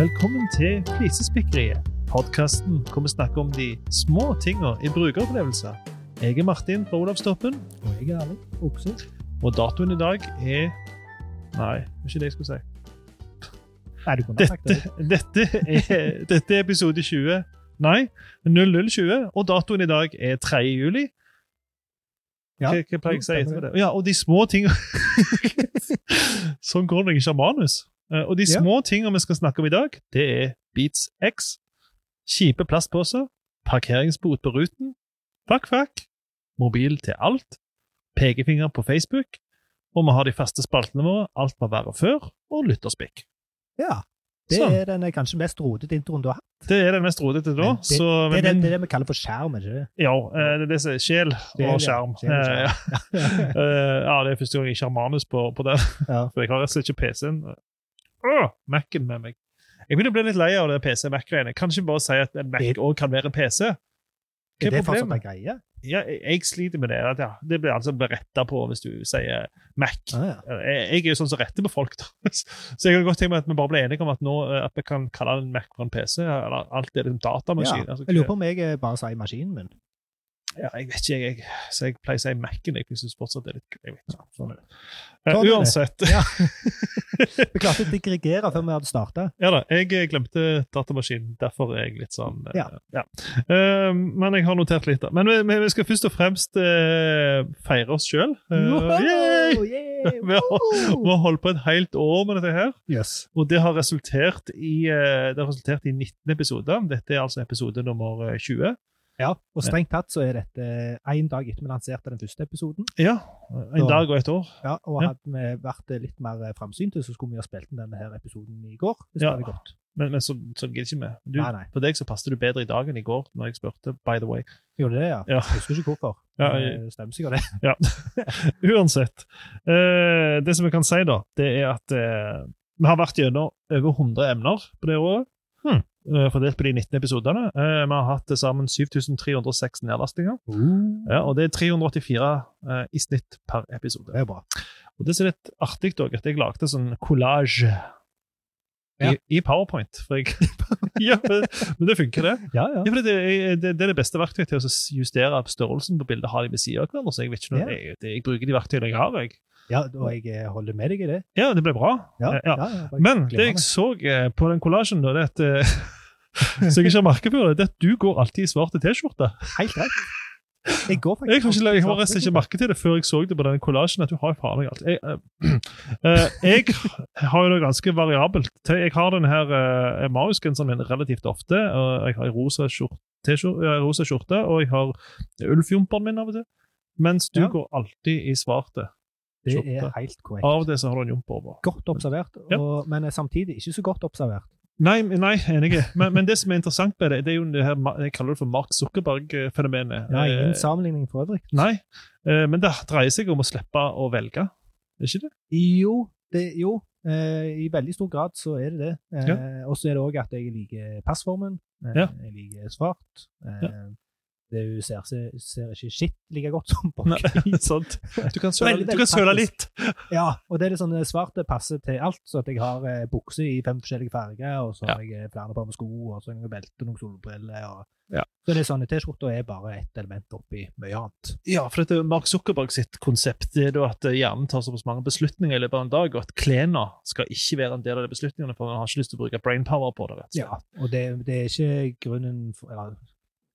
Velkommen til Flisespikkeriet, podkasten hvor vi snakker om de små tinga i brukeropplevelser. Jeg er Martin fra Olavstoppen, Og jeg er ærlig. Okse. og datoen i dag er Nei, det er ikke det jeg skulle si. Nei, du kunne ha sagt Dette, det. dette, er, dette er episode 20. Nei, 0020, og datoen i dag er 3. juli. Ja. Hva, hva pleier jeg å si etterpå Jo, stemmer det? Ja, og de små tinga Sånn går det når jeg ikke har manus. Eh, Og de Ja. små tinga vi skal snakke om i dag, det er Beats X, kjipe plastposer, parkeringsbot på ruten, fakk, fakk, mobil til alt, pekefinger på Facebook, og vi har de faste spaltene våre Alt var verre før og Lytterspikk. Ja. Det Sånn. er den eh, kanskje mest rodete introen du har hatt. Det er den mest rodete da. Men det- så, Det er, den, det er det vi kaller for skjerm, er ikke det? Ja, eh, det er det som er sjel og skjerm. Sjel og skjerm. Eh, Ja. Eh, ja, det er første gang jeg ikke har manus på, på den. Ja. For jeg har rett og slett ikke PC-en. Åh, Mac-en med meg. Jeg begynner å bli litt lei av det PC-Mac-greiene. Kan ikke bare si at en Mac Det- òg kan være en PC? Hva Er er det fortsatt en problemet? greie? Ja, jeg, jeg sliter med det. At, ja, det blir altså beretta på hvis du sier Mac. Ah, ja. Eh, Jeg er jo sånn som retter på folk, da. så jeg kan godt tenke meg at vi bare blir enige om at nå eh, at vi kan kalle en Mac for en PC. Eller alt er liksom datamaskin. Ja. Altså, Jeg lurer på om jeg eh, bare sier maskinen min. ja, jeg vet ikke, jeg, jeg, så jeg pleier å si Mac-en. Jeg syns fortsatt det er litt kult. Jeg vet ikke. Sånn er det. Eh, Sånn er det. uansett. Ja. Vi klarte å digregere før vi hadde starta. Ja da, jeg eh, glemte datamaskinen. Derfor er jeg litt sånn eh, Ja. ja. Eh, men jeg har notert litt, da. Men vi, vi- vi skal først og fremst eh, feire oss sjøl. Vi Vi har holdt på et helt år med dette her, Yes. og det har resultert i, eh, det har resultert i 19 episoder. Dette er altså episode nummer eh, 20. Ja, og strengt tatt så er dette én dag etter vi lanserte den første episoden. Ja, En Så- dag og et år. Ja, Og Ja. hadde vi vært eh, litt mer eh, framsynte, så skulle vi ha spilt inn denne her episoden i går. Hvis Ja. det hadde gått. Men, men så, så gidder ikke vi. Du, Nei, nei. For deg så passet du bedre i dag enn i går, når jeg spurte, by the way. Gjorde det, ja. Ja. Jeg husker ikke hvorfor. Ja, Men, jeg- eh, stemmer sikkert det. Uansett. Eh, det som jeg kan si, da, det er at eh, vi har vært gjennom over 100 emner på det året. Hmm. Eh, fordelt på de 19 episodene. Eh, vi har hatt til sammen 7306 nedlastinger. Uh. Ja, og det er 384 eh, i snitt per episode. Det er bra. Og det som er litt artig, da, at jeg lagde sånn collage i, Ja. i PowerPoint. For jeg, ja, men, men det funker, det. Ja, ja. Ja, for det, er- det, det er det beste verktøyet til å justere størrelsen på bildet. har de ved siden av hverandre, så Jeg vet ikke noe, Ja. jeg, jeg bruker de verktøyene jeg har. jeg. ja og jeg eh, holder med deg i det. Ja, det ble bra. Ja, Eh, ja. ja. ja, bare Men det jeg glimrende. så eh, på den kollasjen, da, det er at eh, så jeg ikke har merket før, det er at du går alltid i svarte T-skjorte. Helt rett. Jeg går faktisk Jeg har ikke, jeg har rett og slett ikke merket til det før jeg så det på den kollasjen. at du har jo faen meg alt. Jeg, eh, eh, jeg har jo det ganske variabelt. Te- Jeg har denne her eh, Marius-genseren min relativt ofte. og Jeg har en rosa skjorte, rosa skjorte og jeg har Ulfjumperen min av og til. Mens du Ja. går alltid i svarte. Det er skjorte. helt korrekt. Av og til så har du en jumper over. Godt observert, Ja. og, men eh, samtidig ikke så godt observert. Nei, men- nei enig. Men, men det som er interessant med det, det er jo det her, Ma- jeg kaller det for Mark Zuckerberg-fenomenet. Ja, Eh, ingen sammenligning for øvrig. nei. Eh, Men det dreier seg om å slippe å velge. Er ikke det? Jo, det, jo eh, i veldig stor grad så er det det. Eh, Og så er det òg at jeg liker passformen. Eh, Ja. Jeg liker svart. Eh, Det hun ser, ser, ser ikke skitt like godt som på Nei. gris. Sant? Du kan søle, Veldig, du kan søle veldig litt. Ja, og det er litt sånn eh, svart det passer til alt. Så at jeg har eh, bukse i fem forskjellige farger, og så Ja. har jeg eh, flere par med sko, og så har jeg noen belte, noen solbriller. Og... Ja. Så det er sånn, T-skjorta er bare ett element oppi mye annet. Ja, for dette er Mark Zuckerberg sitt konsept det er da at eh, hjernen tar såpass mange beslutninger i løpet av en dag, og at klærne skal ikke være en del av de beslutningene, for han har ikke lyst til å bruke brainpower på det. rett og slett. Ja, og det, det er ikke grunnen for, eller,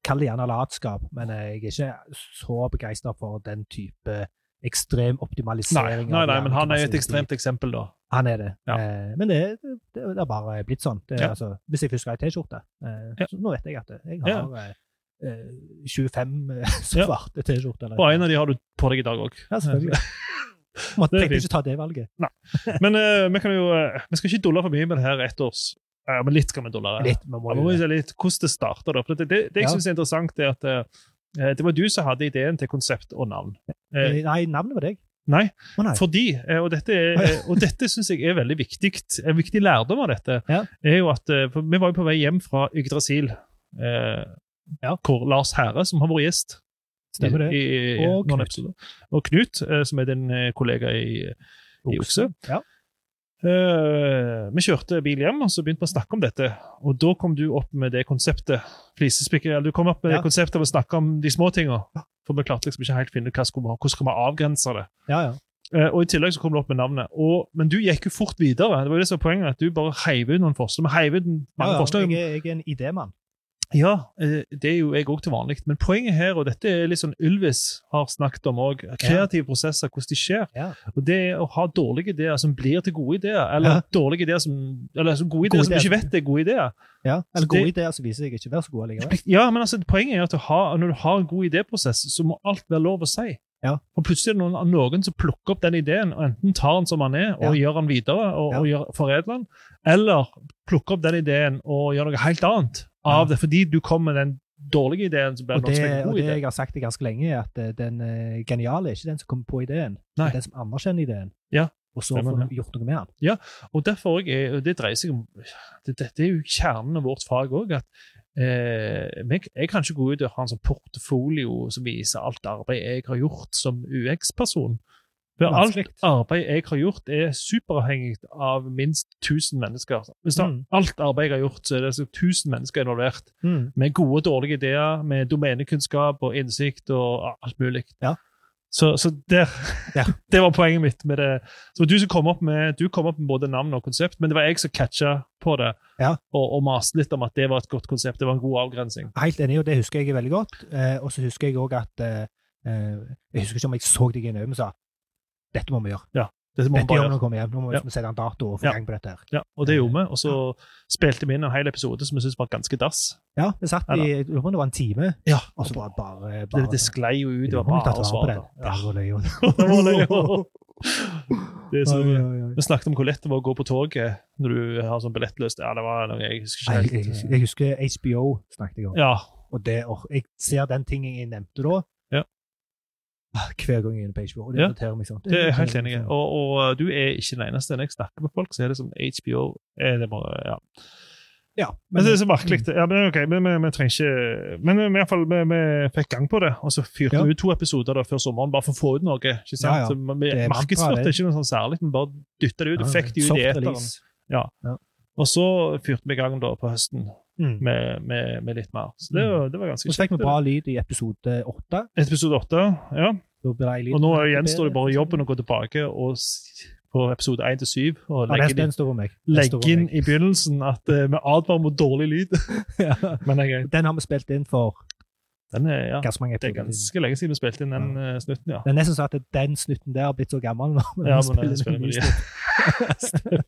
Kall det gjerne latskap, men eh, jeg er ikke så begeistra for den type Nei, ekstrem optimalisering. av nei, nei, men han er et hjernekapasitet. ekstremt eksempel, da. Han er det. Ja. Eh, men det, det, det er bare blitt sånn. Det, er Ja. altså, hvis jeg først skal ha ei T-skjorte, eh, Ja. så nå vet jeg at jeg Ja. har eh, eh, 25 eh, svarte T-skjorter. Og en av de har du på deg i dag òg. Ja, selvfølgelig. Måtte Det er tenkte ikke ta det valget. Men eh, vi kan jo eh, Vi skal ikke dulle for mye med det her ettårs... Ja, men litt skal vi dulle. det. Litt, vi må Ja, jo men må vi det. se litt hvordan det starta. Det, det, det jeg Ja. synes er interessant, er at eh, det var du som hadde ideen til konsept og navn. Eh, Eh, Nei, navnet var deg. nei, Å nei. Fordi, eh, og dette, er- Å, ja. eh, og dette syns jeg er veldig viktig, en viktig lærdom av dette, Ja. er jo at eh, for vi var jo på vei hjem fra Yggdrasil, eh, Ja. hvor Lars Herre, som har vært gjest Stemmer det. i, i, i Og noen Knut. eh, episoder, og Knut, eh, som er din eh, kollega i, i Okse, Ja. Eh, vi kjørte bil hjem, og så begynte vi å snakke om dette. Og da kom du opp med det konseptet. Flisespikker, eller du kom opp med Ja. det konseptet om å snakke om de små tinga. For vi klarte liksom ikke helt finne ut hva skulle vi, hvordan skal vi avgrense det. Ja, ja. Eh, og I tillegg så kom det opp med navnet. Og, men du gikk jo fort videre. Det var jo det som var poenget, at du bare heiv ut noen forslag. Vi heiv ut mange ja, ja. forslag. Jeg, er, jeg er en idémann. Ja, eh, det er jo jeg òg til vanlig. Men poenget her, og dette er litt sånn Ylvis har snakket om òg, kreative prosesser, hvordan de skjer. Ja. Og det er å ha dårlige ideer som blir til gode ideer, eller Ja. dårlige ideer som, eller så gode ideer Gode som du ikke ideer. vet er gode ideer. Ja. Så Eller det- gode ideer som viser seg ikke å være så gode likevel. Ja, men altså, Poenget er at du har, når du har en god idéprosess, så må alt være lov å si. Ja. Og Plutselig er det noen, noen som plukker opp den ideen og enten tar den som den er, og gjør den videre, og, og gjør, foredler den, eller plukker opp den ideen og gjør noe helt annet av Ja. det, fordi du kom med den dårlige ideen. som blir Og det, noe det, som er en god og det idé. jeg har sagt det ganske lenge, er at eh, den eh, geniale er ikke den som kommer på ideen, Nei. men den som anerkjenner ideen. Ja, Og så stemmer får du gjort noe med den. Og derfor også er, og det dreier seg om det, Dette er jo kjernen av vårt fag òg. Eh, men jeg jeg kan ikke gå ut og ha en sånn portfolio som viser alt arbeid jeg har gjort som UX-person. For alt Vanskelig. arbeid jeg har gjort, er superavhengig av minst 1000 mennesker. Hvis det er Mm. alt arbeid jeg har gjort, så er det så 1000 mennesker involvert. Mm. Med gode og dårlige ideer, med domenekunnskap og innsikt og alt mulig. Ja. Så, så der, Ja. det var poenget mitt med det. Så du, som kom opp med, du kom opp med både navn og konsept, men det var jeg som catcha på det Ja. og, og maste litt om at det var et godt konsept. Det var en god avgrensing. Helt enig, og det husker jeg veldig godt. Eh, og så husker jeg òg at eh, eh, Jeg husker ikke om jeg så deg i øynene og sa dette må vi gjøre. Det må man Dette bare gjør vi når gjøre. vi kommer hjem. Nå må vi Ja. liksom sette en dato og få Ja. gang på dette. her. Ja, og det gjorde vi. Og så spilte vi inn en hel episode som vi syntes var ganske dass. Ja, vi satt i jeg lurer på om det var en time, Ja, og så var det bare, det, bare det sklei jo ut. Det var Må vi ta bare å vare på svare på. den? Ja. Den var løyen. Det var løye. Det er så, Oi, oi, oi. Vi snakket om hvor lett det var å gå på toget når du har sånn billettløst. Ja, det var noe jeg husker Nei, ikke Jeg, helt. jeg husker HBO snakket jeg om. altså. Ja, Og det, og jeg ser den tingen jeg nevnte da, Ja. ah, hver gang jeg er inne på HBO. Og det Ja. irriterer meg sånn. det er jeg helt irriterer enig. i. meg sånn. Og, og du er ikke den eneste. Når jeg snakker med folk, så er det som HBO eh, det må, ja. Ja, Men det er så merkelig. Ja, men det er ok, men vi, vi trenger ikke Men vi, i hvert fall, vi, vi fikk gang på det, og så fyrte Ja. vi ut to episoder da før sommeren bare for å få ut noe. ikke sant? Ja, ja. Så vi er mantra, markedsførte det. ikke noe sånn særlig, men bare dytta det ut og fikk det ut i Soft eteren. release. Og så fyrte vi i gang da på høsten Mm. med, med, med litt mer. Så det, var- det var ganske Og så fikk vi bra lyd i episode åtte. Episode åtte, ja. Da ble jeg lyd- Og nå gjenstår det bare jobben å gå tilbake og s- på episode 1 til 7 og Ja, legge den- inn, den står på meg. Den står legge på inn meg. i begynnelsen at eh, vi advarer mot dårlig lyd. Ja. Men jeg, Den har vi spilt inn for den er, ja, ganske mange det er episoder siden. ganske lenge siden vi spilte inn den eh, snutten, ja. Det er nesten sånn at den snutten der har blitt så gammel nå. men Ja, vi men jeg spiller spiller den med i de. snutten.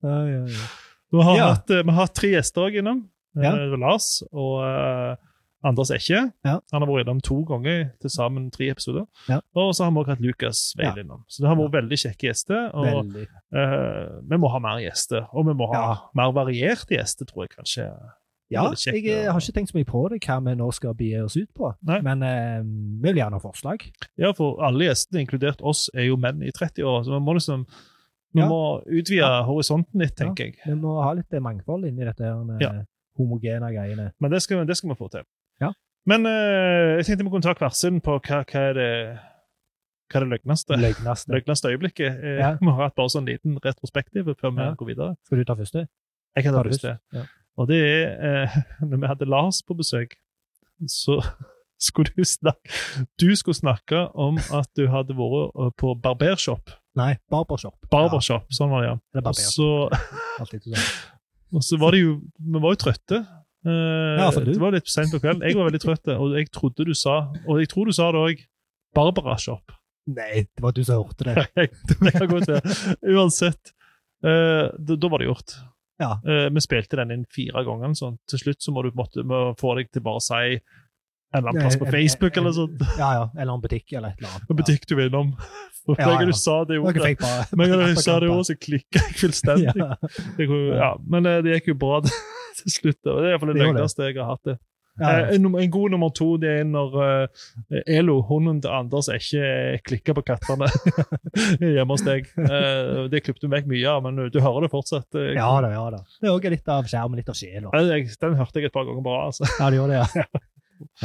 ja, ja, ja. Vi har, Ja. hatt, eh, vi har hatt tre gjester også innom. Eh, Ja. det var Lars og eh, Anders Ekke. Ja. Han har vært innom to ganger, til sammen tre episoder. Ja. Og så har vi også hatt Lukas Veil innom. Så det har vært veldig kjekke gjester. og Veldig. Eh, vi må ha mer gjester, og vi må ha Ja. mer varierte gjester, tror jeg kanskje. Ja, Det er jeg litt kjekt eh, å- har ikke tenkt så mye på det, hva vi nå skal begi oss ut på. Nei. Men eh, vi vil gjerne ha forslag. Ja, for alle gjestene, inkludert oss, er jo menn i 30-åra, så vi må liksom vi Ja. må utvide horisonten litt, tenker jeg. Vi må ha litt eh, mangfold inni dette her, eh, Ja. homogene greiene. Men det skal, det skal vi få til. Ja. Men eh, jeg tenkte vi kunne ta kvarsen på hva, hva er det hva er det løgneste, Løgneste. løgneste øyeblikket. Eh, Ja. Vi har hatt bare sånn liten retrospektiv før vi Ja. går videre. Skal du ta første? Jeg kan ta Tar du først det. først? Ja. Og det er eh, Når vi hadde Lars på besøk, så skulle du snakke Du skulle snakke om at du hadde vært eh, på barbershop. Nei, barbershop. Barbershop, sånn var det, ja. Ja, eller Og barber. så, Alltid sånn. og så var det jo Vi var jo trøtte. Eh, Ja, for du. det var litt seint på kvelden. Jeg var veldig trøtt, og jeg trodde du sa Og jeg tror du sa det òg. Barberashop. Nei, det var du som hørte det. Jeg- det kan godt være. Uansett. eh, da, da var det gjort. Ja. Eh, vi spilte den inn fire ganger. Sånn. Til slutt så må du på en måte må få deg til bare å si en eller annen plass på Eh, eh, Facebook eh, eller sånt. Ja, ja. Eller en butikk eller et eller annet. En butikk du var innom. For Ja, hver gang ja. du sa det Ja. Dere ordet, fikk bare hver gang du sa det ordet, så klikka jeg fullstendig. Ja. Det går- ja. Men eh, det gikk jo bra til slutt. og Det er iallfall det Det gjorde det. løgneste jeg har hatt. det. Ja, Eh, En, en god nummer to det er når eh, Elo, hunden til Anders, ikke eh, klikker på kattene hjemme hos deg. Eh, det klippet du vekk mye av, men du hører det fortsatt. Eh, ja da, ja da. Det er òg litt av skjermen, litt av sjela. eh, jeg- Den hørte jeg et par ganger bra. altså. Ja, det gjør det, ja.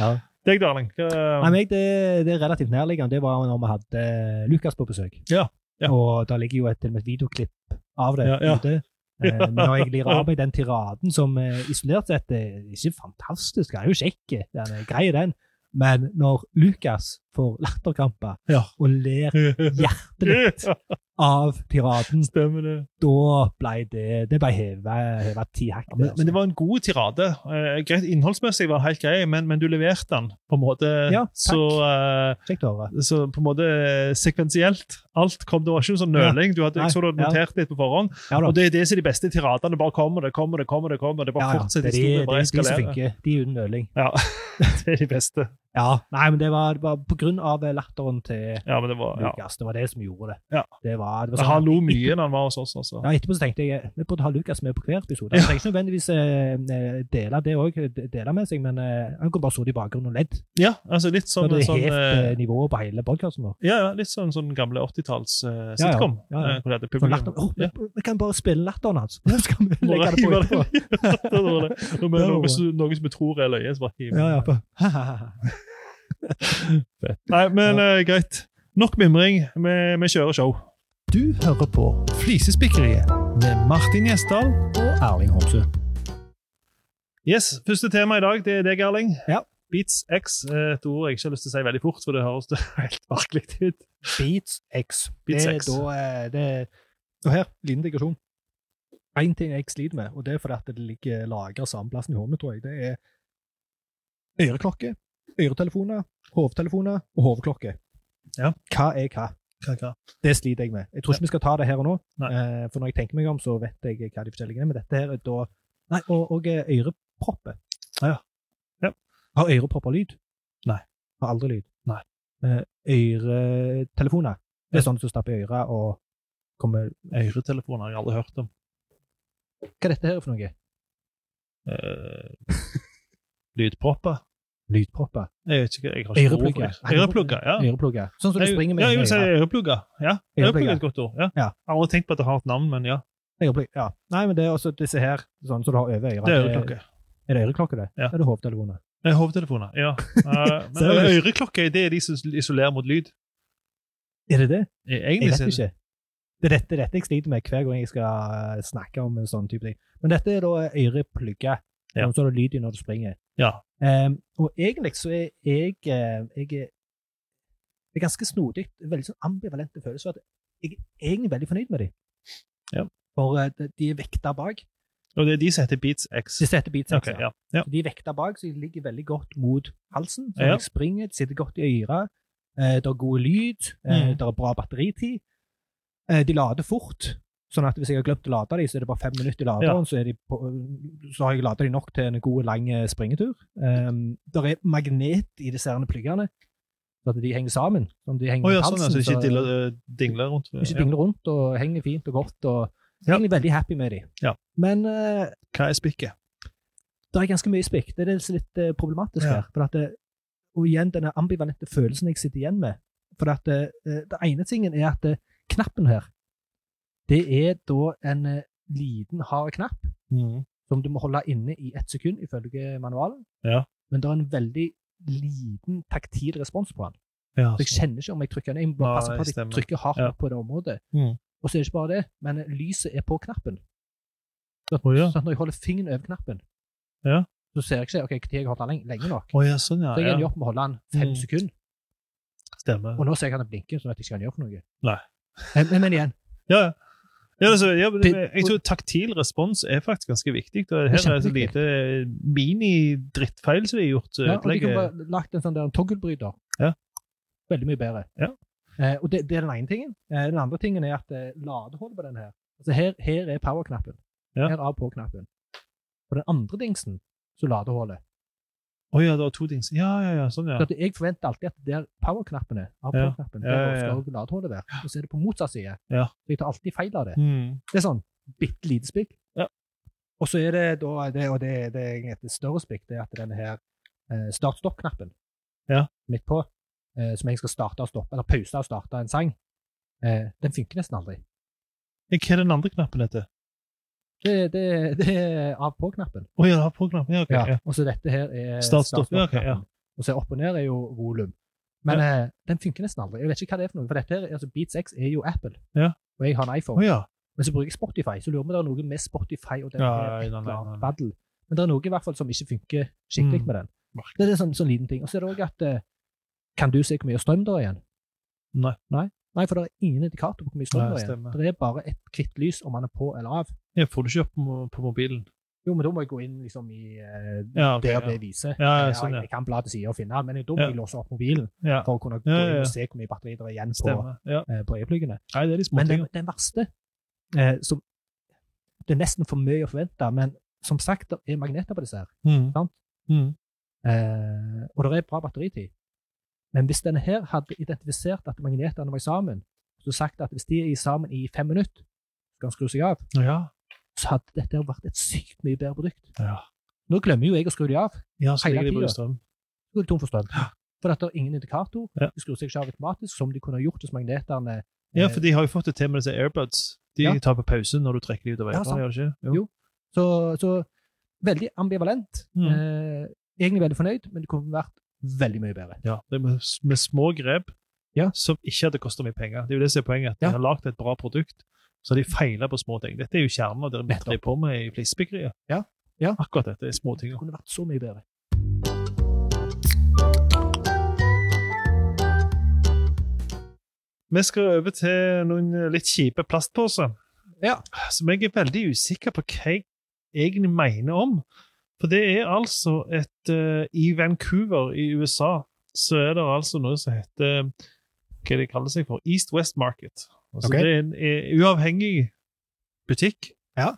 ja. Deg, darling. Eh, hva- Nei, meg, det, det er relativt nærliggende. Det var når vi hadde eh, Lukas på besøk. Ja. Ja. Og der ligger jo et, til og med et videoklipp av det Ja, ja. ute. Eh, Ja. Men når jeg lir av meg den tiraden som eh, isolert sett er ikke fantastisk, den er jo kjekk, den er grei, den. Men når Lukas får latterkramper Ja. og ler hjertelig av tiraden, Stemmer det. da ble det det ble heva ti hakk. Ja, men, men det var en god tirade. Eh, greit, Innholdsmessig var det helt grei, men, men du leverte den på en måte Ja, takk. så eh, altså. Kjekt å høre. så på en måte eh, sekvensielt. Alt kom, Det var ikke noe sånn nøling. Du hadde, Nei, jeg så du hadde ja. notert litt på forhånd. Ja da. Og det er det som er de beste tiradene. Bare kommer det, kommer det, kommer det. kommer Det Ja, bare ja. Det fortsetter er de, det historien. Bare er de som eskalerer. funker. De uten nøling. Ja, det er de beste. Ja. Nei, men det var, det var på grunn av eh, latteren til Ja, men det var, ja. Lukas. Det var det som gjorde det. Ja. Det var, det var Men sånn, Han lo mye når han var hos oss, altså. Ja, etterpå så tenkte jeg eh, vi burde ha Lukas med på hver episode. Han trenger ikke nødvendigvis eh, dele det òg, dele med seg, men eh, han kunne bare stå i bakgrunnen og ledd. Ja, altså litt sånn, Når det er sånn helt eh, eh, nivået på hele podkasten vår. ja, ja, litt sånn, sånn gamle 80-talls eh, Ja, ja. sitcom. Ja, ja. eh, Hvor det hadde Sånn publikum. latter, Åh, Ja. vi, vi kan bare spille latteren hans! Så skal vi Bare legge det på hive etterpå. det i- Det var det. Når vi- Ja, Noe det som noe som vi tror er løye, så bare hiver vi Ja, ja, det. bare. Nei, men eh, greit. Nok mimring. Vi, vi kjører show. Du hører på Flisespikkeriet med Martin Gjesdal. Erling Homsø. Yes, Første tema i dag det er deg, Erling. Ja. Beats X. eh, Et ord jeg ikke har lyst til å si veldig fort, for det høres det helt merkelig ut. Beats X. Beats det, er X. Da, eh, det, og her, liten digresjon. Én ting jeg sliter med, og det er fordi at det ligger lagra samme plassen i hodet mitt, tror jeg, det er øreklokke, øretelefoner, hovedtelefoner og hodeklokke. Ja. Hva er hva? Det sliter jeg med. Jeg tror ikke vi skal ta det her og nå, Nei. eh, for når jeg tenker meg om, så vet jeg hva de forskjellige er, men dette her er da Nei, og, og eh, ørepropper. Ja. Ja. Har ørepropper lyd? Nei. Har aldri lyd? Nei. Eh, øretelefoner. Det er sånn som stapper i øret og kommer Øretelefoner har jeg aldri hørt om. Hva er dette her for noe? Eh, lydpropper? Lydpropper? Jeg vet ikke. jeg har ikke ord for det. Øreplugger. Øreplugger, ja. Øreplugger. Sånn som du Jeg- springer med ja, jeg i vil si øret. øreplugger. Ja. Øreplugger er et godt ord. Ja. Ja. Jeg har aldri tenkt på at det har et navn, men ja. Øreplugger, Ja. Nei, men det er også disse her, sånn som du har over øret. Det er øreklokke. Er det øreklokke, det? Ja. Er det hovedtelefoner? Eh, Hovedtelefoner. Ja. Eh, Men Ser du? øreklokke det er de som isolerer mot lyd. Er det det? Eh, Jeg Egentlig vet så er det- ikke. Det er dette, dette jeg sliter med hver gang jeg skal eh, snakke om en sånn type ting. Men dette er da eh, øreplugger. Ja. Ja. Så er det lyd i når du springer. Ja. Em, og egentlig så er jeg, eh, jeg er- Det er ganske snodig. Veldig sånn ambivalente følelser. At jeg er egentlig veldig fornøyd med dem. Ja. For eh, de- de er vekta bak. Og det er de som heter Beats X. Disse heter beatsex. Ok, ja. Ja. De er vekta bak, så de ligger veldig godt mot halsen. Så Ja. jeg springer, det sitter godt i øret. Eh, det er god lyd, eh, Mm. det er bra batteritid. Eh, de lader fort, sånn at hvis jeg har glemt å lade dem, så er det bare fem minutter i laderen, så, er de på, så har jeg ladet dem nok til en god, lang eh, springetur. Eh, det er magnet i disse her pluggene, så at de henger sammen. Sånn, at de henger Å ja, mot sånn, halsen, altså. Ikke så- diller, eh, dingler rundt. ikke Ja. dingler rundt, og henger fint og godt. og Ja. Egentlig veldig happy med dem. Ja. Men eh, Hva er spikket? det er ganske mye spikk. Det er det som er litt eh, problematisk Ja. her. For at, eh, og igjen denne ambivalente følelsen jeg sitter igjen med. For at eh, det ene tingen er at eh, knappen her, det er da en eh, liten, hard knapp som du må holde inne i ett sekund, ifølge manualen. Ja. Men det er en veldig liten taktil respons på den. Ja, Så jeg sånn. kjenner ikke om jeg trykker den. Jeg må bare Nei, passe på at jeg stemmer. trykker hardt Ja. nok på det området. Mhm. Og så er det ikke bare det, men eh, lyset er på knappen. Så, Å, ja. så når jeg holder fingeren over knappen, Ja. så ser jeg ikke ok, når jeg har holdt den lenge, lenge nok. Å, ja, sånn, ja. Så jeg ja. ender opp med å holde den fem Mhm. sekunder, Stemmer. og nå ser jeg han blinker, så vet jeg ikke hva han gjør for noe. Nei. Men, men, men igjen, Ja, ja. Ja, altså, ja, men Det- jeg tror taktil respons er faktisk ganske viktig. Og her er det så kjempeviktig. lite mini-drittfeil som er gjort. så ja, og de ødelegger- kunne bare lagt en sånn der en toggelbryter. Ja. Veldig mye bedre. Ja. Eh, og det, det er den ene tingen. Eh, den andre tingen er at eh, ladehullet på den her Altså her, her er power-knappen. Ja. Her er på-knappen. Og den andre dingsen, så ladehullet. Å ja, det var to ting. Ja, ja, ja, sånn, ja. Så at Jeg forventer alltid at der power-knappen er, av Ja. power-knappen, Ja, ja, der ja. skal også ladehullet være. Og så er det på motsatt side. Ja. Så jeg tar alltid feil av det. Mm. Det er sånn bitte lite spikk. Ja. Og så er det da det, Og det, det er egentlig et større spikk, det er at denne her eh, start-stopp-knappen Ja. midt på, eh, som jeg skal starte og stoppe, eller pause og starte en sang, eh, den funker nesten aldri. Hva er den andre knappen heter? Det, det, det er av-på-knappen. Å ja, det har på-knappen. Ja, ok. Ja. Og så dette her er Start-stopp. Ja, ok, ja. start-stopp-knappen. Og så opp og ned er jo volum. Men eh, den funker nesten aldri. Jeg vet ikke hva det er for noe. For dette her, altså Beats X er jo Apple, Ja. og jeg har Å en iPhone. ja. Men så bruker jeg Spotify, så lurer vi om det er noe med Spotify og den Ja, her nei, et nei, eller annet nei, nei. baddel. Men det er noe i hvert fall som ikke funker skikkelig Mm. med den. Merkelig. Det er en sånn, sånn liten ting. Og så er det òg at eh, Kan du se hvor mye strøm det er igjen? Nei. Nei, for det er ingen indikator på hvor mye strøm Nei, det er igjen. stemmer. Det er bare et hvitt lys om man er på eller av. Jeg får det ikke opp på, mo- på mobilen. Jo, men da må jeg gå inn liksom i eh, Ja, ok, der ja. det viser. Ja, ja, Eh, sånn, ja. Jeg, jeg kan bla til sida og finne, men da må Ja. jeg låse opp mobilen Ja, for å kunne gå Ja, ja, inn ja. og se hvor mye batteri det er igjen på, stemmer. Ja. eh, på øyepluggene. Nei, det er de små Men den, tingene. den verste, eh, som Det er nesten for mye å forvente, men som sagt, det er magneter på disse her. Mm. sant? Mm. Eh, og det er bra batteritid. Men hvis denne her hadde identifisert at magnetene var sammen, så sagt at hvis de er sammen i fem minutter, så kan den skru seg av, Ja. så hadde dette her vært et sykt mye bedre produkt. Ja. Nå glemmer jo jeg å skru de av. ja, så Hele ligger de tiden. på strøm. Nå er de tom for strøm. For at det er ingen indikator. Ja. De skrur seg ikke av automatisk, som de kunne ha gjort hvis magnetene eh, Ja, for de har jo fått det til med disse airbuds. De Ja. tar på pause når du trekker de ut av Ja, veiene, sant. gjør de ikke? Jo. Så, så veldig ambivalent. Mm. Eh, egentlig veldig fornøyd, men det kunne vært veldig mye bedre. Ja, det er med, med små grep Ja. som ikke hadde kosta mye penger. Det er jo det som er poenget. at De Ja. har lagd et bra produkt, så har de feiler på små ting. Dette er jo kjernen av det vi Nettopp. driver på med i flisespikkeriet. Ja. Ja. Akkurat dette er små ting. Det kunne vært så mye bedre. Vi skal over til noen litt kjipe plastposer, Ja. som jeg er veldig usikker på hva jeg egentlig mener om. For det er altså et eh, I Vancouver i USA så er det altså noe som heter Hva det kaller seg for? East West Market. Altså Ok. Det er en eh, uavhengig butikk Ja.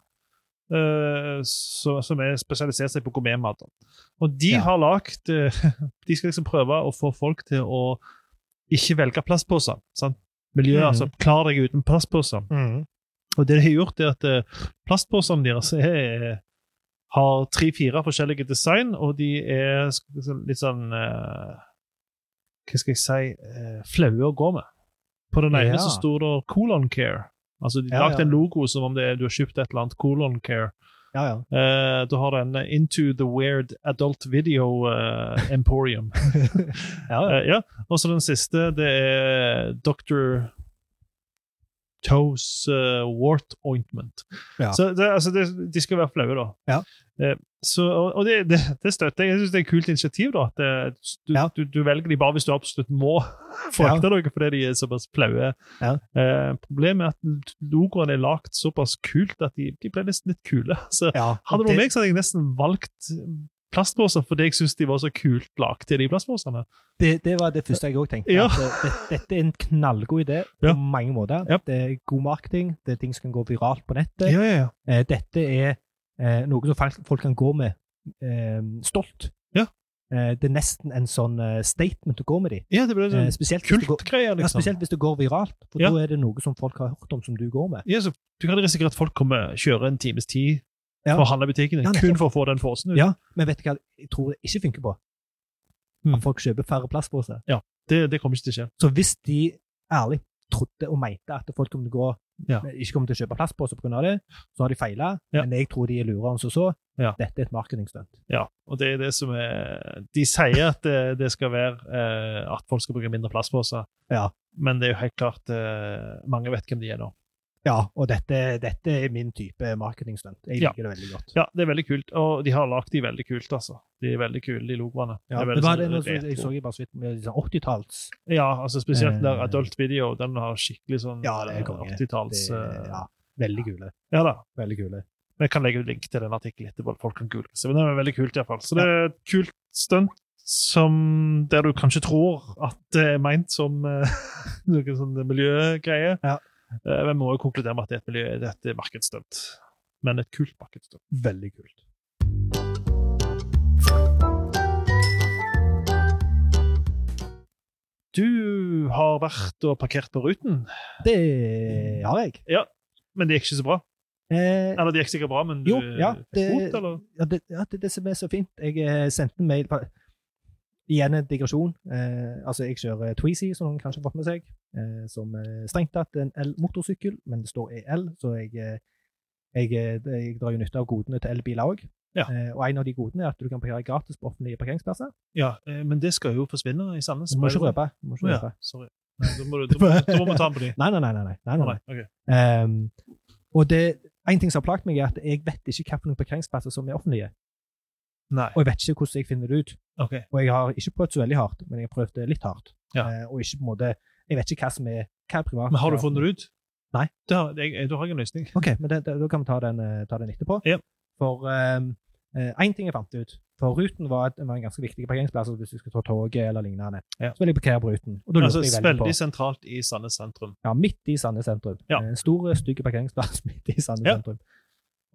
eh, så, som er spesialisert seg på gourmetmat. Og de Ja. har lagd De skal liksom prøve å få folk til å ikke velge plastposer. sant? Miljøet, Mhm. altså, klar deg uten plastposer. Og det de har gjort, er at eh, plastposene deres er, eh, har tre-fire forskjellige design, og de er sk- så- litt sånn eh, Hva skal jeg si eh, Flaue å gå med. På den ene Ja. så sto det Colon Care. Altså, De Ja, lagde ja. en logo som om det er, du har kjøpt et eller annet Colon Care. Ja, ja. Eh, du har den eh, Into the Weird Adult Video eh, Emporium. ja, ja. Eh, ja. Og så den siste, det er Dr. Toes eh, Wart Ointment. Ja. Så det, altså, det, de skal være flaue, da. Ja. Eh, så, og og det, det, det støtter jeg. Jeg syns det er et kult initiativ. da, at eh, du, Ja. du, du velger de bare hvis du absolutt må frakte noe fordi de er såpass flaue. Ja. Eh, problemet er at logoene er lagd såpass kult at de, de ble nesten litt kule. Så ja. hadde det vært meg, så hadde jeg nesten valgt eh, plastposer fordi jeg syns de var så kult lagd, de plastposene. Det, det var det første jeg òg tenkte. Ja. At eh, det, dette er en knallgod idé på Ja. mange måter. Ja. Det er god marketing, det er ting som kan gå viralt på nettet. ja, ja. Eh, dette er eh, noe som folk, folk kan gå med eh, stolt. Ja. Eh, det er nesten en sånn eh, statement å gå med de. Ja, det ble Eh, sånn spesielt, hvis det går, kultgreier, ja, liksom. spesielt hvis det går viralt, for Ja. da er det noe som folk har hørt om som du går med. Ja, så du kan risikere at folk kommer kjører en times tid Ja. for å handle i butikken Ja, nettopp. kun for å få den forsen ut. Ja, Men vet du hva jeg tror det ikke funker på? Mm. At folk kjøper færre plastposer. Det, det kommer ikke til å skje. Så hvis de ærlig trodde og mente at folk kom til å gå eh, Ja. ikke kommer til å kjøpe plastposer pga. det, så har de feila. Ja. Men jeg tror de er lurere enn som så. Ja. Dette er et marketingstunt. Ja, og det er det som er De sier at det, det skal være eh, at folk skal bruke mindre plastposer, Ja. men det er jo helt klart eh, Mange vet hvem de er nå. Ja, og dette, dette er min type marketingstunt. Jeg Ja. liker det veldig godt. Ja, det er veldig kult, og de har lagd de veldig kult, altså. De er veldig kule, de logoene. Det Ja, er men veldig hva sånn er det, nå så- jeg retro. så jo bare så vidt med liksom 80-talls Ja, altså spesielt den der Eh. Adult Video, den har skikkelig sånn Ja, det er konge. 80-talls det- eh, ja, Veldig kule. Ja da. Veldig kule. Men Jeg kan legge ut link til den artikkelen etterpå. Folk kan google seg. Men det er veldig kult, i hvert fall. Så det er et kult stunt som der du kanskje tror at det er meint som eh, noen sånne miljøgreier. Ja. Eh, Vi må jo konkludere med at det er et, miljø, det er et markedsstunt. Men et kult markedsstunt. Veldig kult. Du har vært og parkert på Ruten, Det har jeg. men det gikk ikke så bra. Eh, Eller det gikk sikkert bra, men du Jo, ja, fikk det- bot, eller? ja, det, ja, det er det som er så fint. Jeg eh, sendte en mail på Igjen en digresjon. Eh, altså, jeg kjører Tweezy, som noen kanskje har fått med seg. Eh, som eh, strengt tatt er en E el-motorsykkel, men det står EL, så jeg, eh, jeg, eh, jeg drar jo nytte av godene til elbiler òg. Ja. Eh, og en av de godene er at du kan parkere gratis på offentlige parkeringsplasser. Ja, eh, men det skal jo forsvinne i Sandnes. Du må ikke røpe. Du må Å ikke ja, røpe. sorry. Nei, Da må, du, da, må, da må vi ta den på de. Nei, nei, nei. nei, nei, nei, Å, nei. nei, ok. Ehm, og det, en ting som har plaget meg, er at jeg vet ikke hvilke parkeringsplasser som er offentlige. Nei. Og jeg vet ikke hvordan jeg finner det ut. ok. Og jeg har ikke prøvd så veldig hardt, men jeg har prøvd det litt hardt. Ja. Eh, og ikke på en måte, jeg vet ikke hva som er, hva er privat. Men har du funnet det ut? Nei. Det har, jeg, da har jeg en løsning. Ok, men det, det, da kan vi ta den, eh, ta den etterpå. Ja. For én ting jeg fant ut For Ruten var, et, var en ganske viktig parkeringsplass altså hvis du skal ta toget eller lignende. Ja. Så vil jeg parkere på Ruten. Og da lurte Altså, jeg veldig på veldig sentralt i Sandnes sentrum. ja, midt i Sandnes sentrum. Ja. En stor, stygg parkeringsplass midt i Sandnes Ja. sentrum.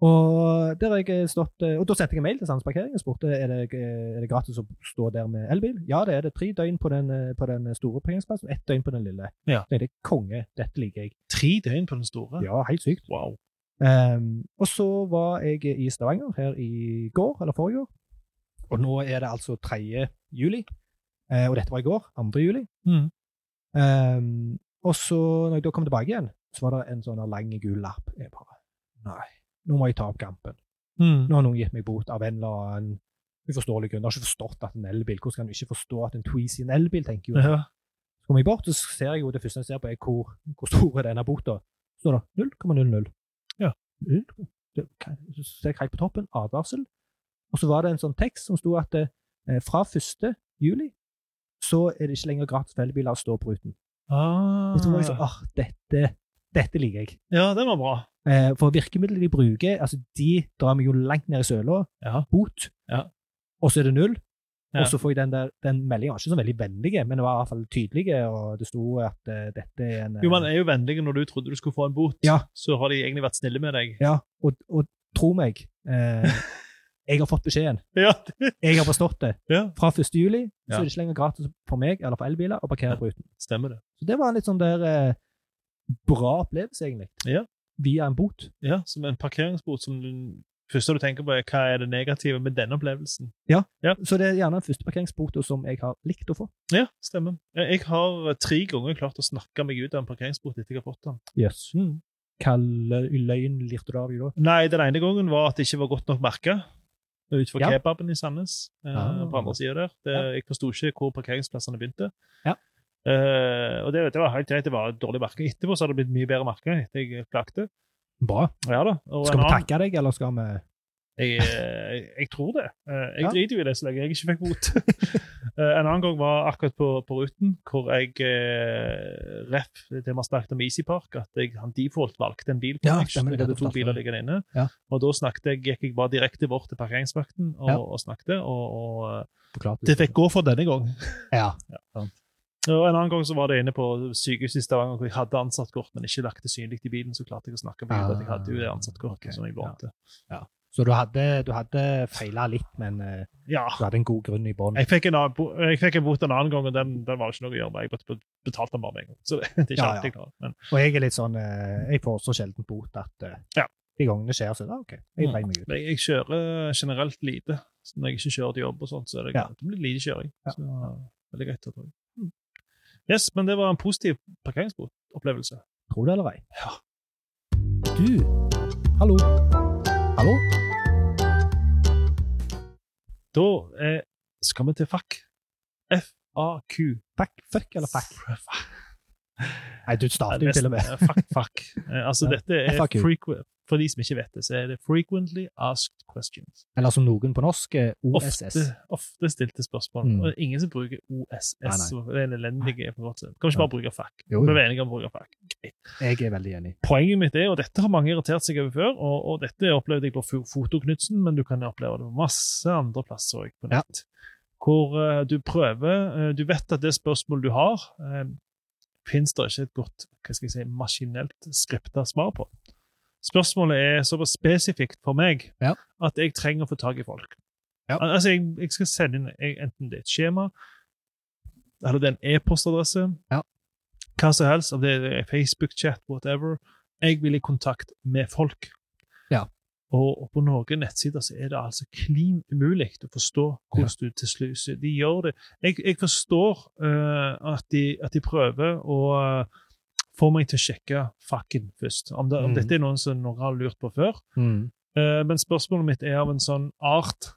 Og der har jeg stått, eh, og da sendte jeg en mail til Sandnes parkering og spurte er det, eh, er det gratis å stå der med elbil. Ja, det er det. Tre døgn på den, eh, på den store parkeringsplassen, ett døgn på den lille. Ja. Så er det konge, dette liker jeg. Tre døgn på den store? Ja, helt sykt. Wow. Ehm, og så var jeg i Stavanger her i går, eller forrige år. Og nå er det altså 3. juli. Eh, og dette var i går, 2. juli. Mhm. Ehm, og så, når jeg da kom tilbake igjen, så var det en sånn her lang gul lapp. Jeg bare Nei, nå må jeg ta opp kampen. Mm. Nå har noen gitt meg bot av en eller annen uforståelig grunn. Jeg har ikke forstått at en elbil Hvordan kan du ikke forstå at en Tweezy er en elbil, tenker jo jeg. Ja. Så kommer jeg bort, så ser jeg jo det første jeg ser på, er hvor, hvor stor er denne bota. Så står det 0,00. Ja. Null- det- hva- Så ser jeg helt på toppen, advarsel. Og så var det en sånn tekst som sto at eh, fra 1. juli så er det ikke lenger gratis for elbiler å stå på ruten. Ah. Og så var jeg sånn, ah, dette, dette liker jeg. Ja, den var bra. Eh, for virkemidlene de bruker, altså de drar meg jo langt ned i søla. Ja. Bot. Ja. Og så er det null. Ja. Og så får jeg den der, den meldingen var ikke så veldig vennlig, men det var i hvert fall tydelig, og det sto at eh, dette er en eh, Jo, man er jo vennlig når du trodde du skulle få en bot. Ja. Så har de egentlig vært snille med deg. eh, Ja, og, og tro meg, eh, jeg har fått beskjeden. Ja. Jeg har forstått det. Ja. Fra 1. juli Ja. så er det ikke lenger gratis for meg eller for elbiler å parkere Ja. på ruten. Stemmer det. Så det var en litt sånn der eh, bra opplevelse, egentlig. Ja. Via en bot. Ja, Som en parkeringsbot som du Første du tenker på, er hva er det negative med denne opplevelsen? Så det er gjerne den første parkeringsbota som jeg har likt å få. Ja, stemmer. Jeg jeg har eh, tre ganger klart å snakke meg ut av en parkeringsbot etter jeg har fått den. Yes. Hva lø- Mm. løgn lirte du av deg da? Nei, den ene gangen var at det ikke var godt nok merka utenfor Ja. kebaben i Sandnes. eh, Ah. på andre siden der. Det, Ja. Jeg forsto ikke hvor parkeringsplassene begynte. Ja. Eh, og det, det var helt greit, det var dårlig merking. Etterpå så har det blitt mye bedre merka etter jeg klagde. Bra. Ja da. Og Skal en vi annen- takke deg, eller skal vi Jeg, eh, jeg tror det. Eh, Jeg Ja. driter jo i det så lenge jeg ikke fikk bot. Eh, en annen gang var akkurat på, på ruten, hvor jeg eh, ref det vi har snakket om i Easy Park, at jeg han default valgte en bil. på Ja, meg, stemmer det, jeg hadde det to fortalte biler du. liggende inne. Ja. Og da snakket jeg, gikk jeg bare direkte bort til parkeringsvakten og, Ja. og snakket. Og, og eh, forklare det fikk gå for denne gang. Ja. Og en annen gang så var det inne på sykehuset i Stavanger hvor jeg hadde ansatt kort, men ikke lagt det synlig i bilen. Så klarte jeg å snakke med dem at jeg hadde jo det ansatt kortet Ah, ok. som jeg lånte. Så du hadde, du hadde feila litt, men eh, Ja. du hadde en god grunn i bånn. Jeg fikk en, annen, bo- jeg fikk en bot en annen gang, og den, den var ikke noe å gjøre med. Jeg bet- betalte den bare med en gang. Så det, det er ikke Ja, alltid jeg klarer. Men, Og jeg er litt sånn eh, Jeg får så sjelden bot at eh, Ja. de gangene det skjer, så er det OK. Mm. Jeg dreier meg ut. men jeg kjører generelt lite. Så når jeg ikke kjører til jobb, og sånt, så er det, Ja. det blir lite kjøring. Ja. Så det er veldig greit. å ta. Yes, men det var en positiv parkeringsbotopplevelse. Tror det eller ei. Ja. Du Hallo. Hallo? Da eh, skal vi til FAQ. F-A-Q. Fuck, fuck eller fuck? Fuck. Nei, du starter jo til og med. Nesten, eh, Fuck, fuck. Eh, altså, Ja. dette er FAQ. frequ- For de som ikke vet det, så er det Frequently Asked Questions. Eller som noen på norsk, eh, OSS. ofte, ofte stilte spørsmål. Mm. Og det er ingen som bruker OSS. Nei, nei. så Det er en elendig på en måte. Kan vi ikke bare bruke FAQ? Jo, Vi jo. er enige om å bruke FAQ. Greit. Jeg er veldig enig. Poenget mitt er, og dette har mange irritert seg over før, og, og dette opplevde jeg på Fo- Fotoknutsen, men du kan oppleve det på masse andre plasser også på Ja. nett. Hvor eh, du prøver eh, Du vet at det spørsmålet du har, uh, fins det ikke et godt hva skal jeg si, maskinelt skripta svar på. Spørsmålet er såpass spesifikt for meg Ja. at jeg trenger å få tak i folk. Ja. Al- Altså, jeg, jeg skal sende inn jeg, enten det er et skjema, eller det er en e-postadresse, Ja. hva som helst, om det er Facebook-chat, whatever. Jeg vil i kontakt med folk. Ja. Og og på noen nettsider så er det altså klin umulig å forstå hvordan du til slutt De gjør det Jeg, jeg forstår eh, at, de, at de prøver å eh, få meg til å sjekke fakken først. Om, det, om Mhm. Mm. dette er noen som noen har lurt på før, Eh, men spørsmålet mitt er av en sånn art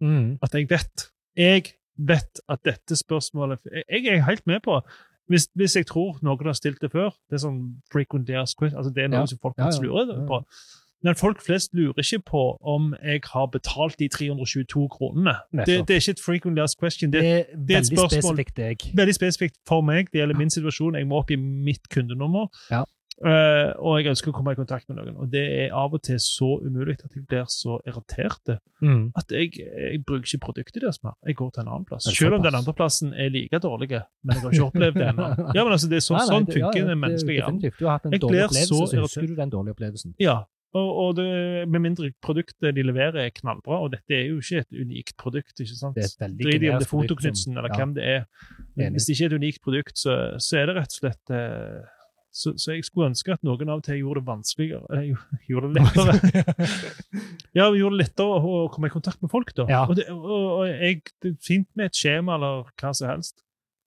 Mm. at jeg vet. Jeg vet at dette spørsmålet Jeg, jeg er helt med på hvis, hvis jeg tror noen har stilt det før Det er sånn frequent dares quiz, altså det er noe Ja. som folk Ja, ja. faktisk lurer Ja, ja. på. Men folk flest lurer ikke på om jeg har betalt de 322 kronene. Det, Nettopp. det er ikke et frequent dares question. Det Det er er det er et veldig spørsmål. spesifikt deg. veldig spesifikt for meg. Det gjelder min situasjon. Jeg må oppgi mitt kundenummer. Ja. Eh, og jeg ønsker å komme i kontakt med noen. Og det er av og til så umulig at jeg blir så irritert Mm. at jeg, jeg bruker ikke produktet deres mer. Jeg går til en annen plass. Det er Selv om såpass. den andre plassen er like dårlig, men jeg har ikke opplevd det ennå. Ja, men altså, det er så, Nei, nei, sånn det- ja, funker ja, den det er menneskelige hjernen. definitivt. Du har hatt en Jeg dårlig blir opplevelse, så så husker irritert. du den dårlige opplevelsen. Ja, og, og det, med mindre produktet de leverer er knallbra, og dette er jo ikke et unikt produkt, ikke sant? Det er et veldig Drit i om det generisk er produkt Fotoknutsen som- eller ja. hvem det er. Men Enig. Hvis det ikke er et unikt produkt, så, så er det rett og slett eh, så, så jeg skulle ønske at noen av og til gjorde det vanskeligere eh, jo- Gjorde det lettere. Ja, vi gjorde det lettere å å komme i kontakt med folk, da. Ja. Og, det, og, og jeg, det er fint med et skjema eller hva som helst.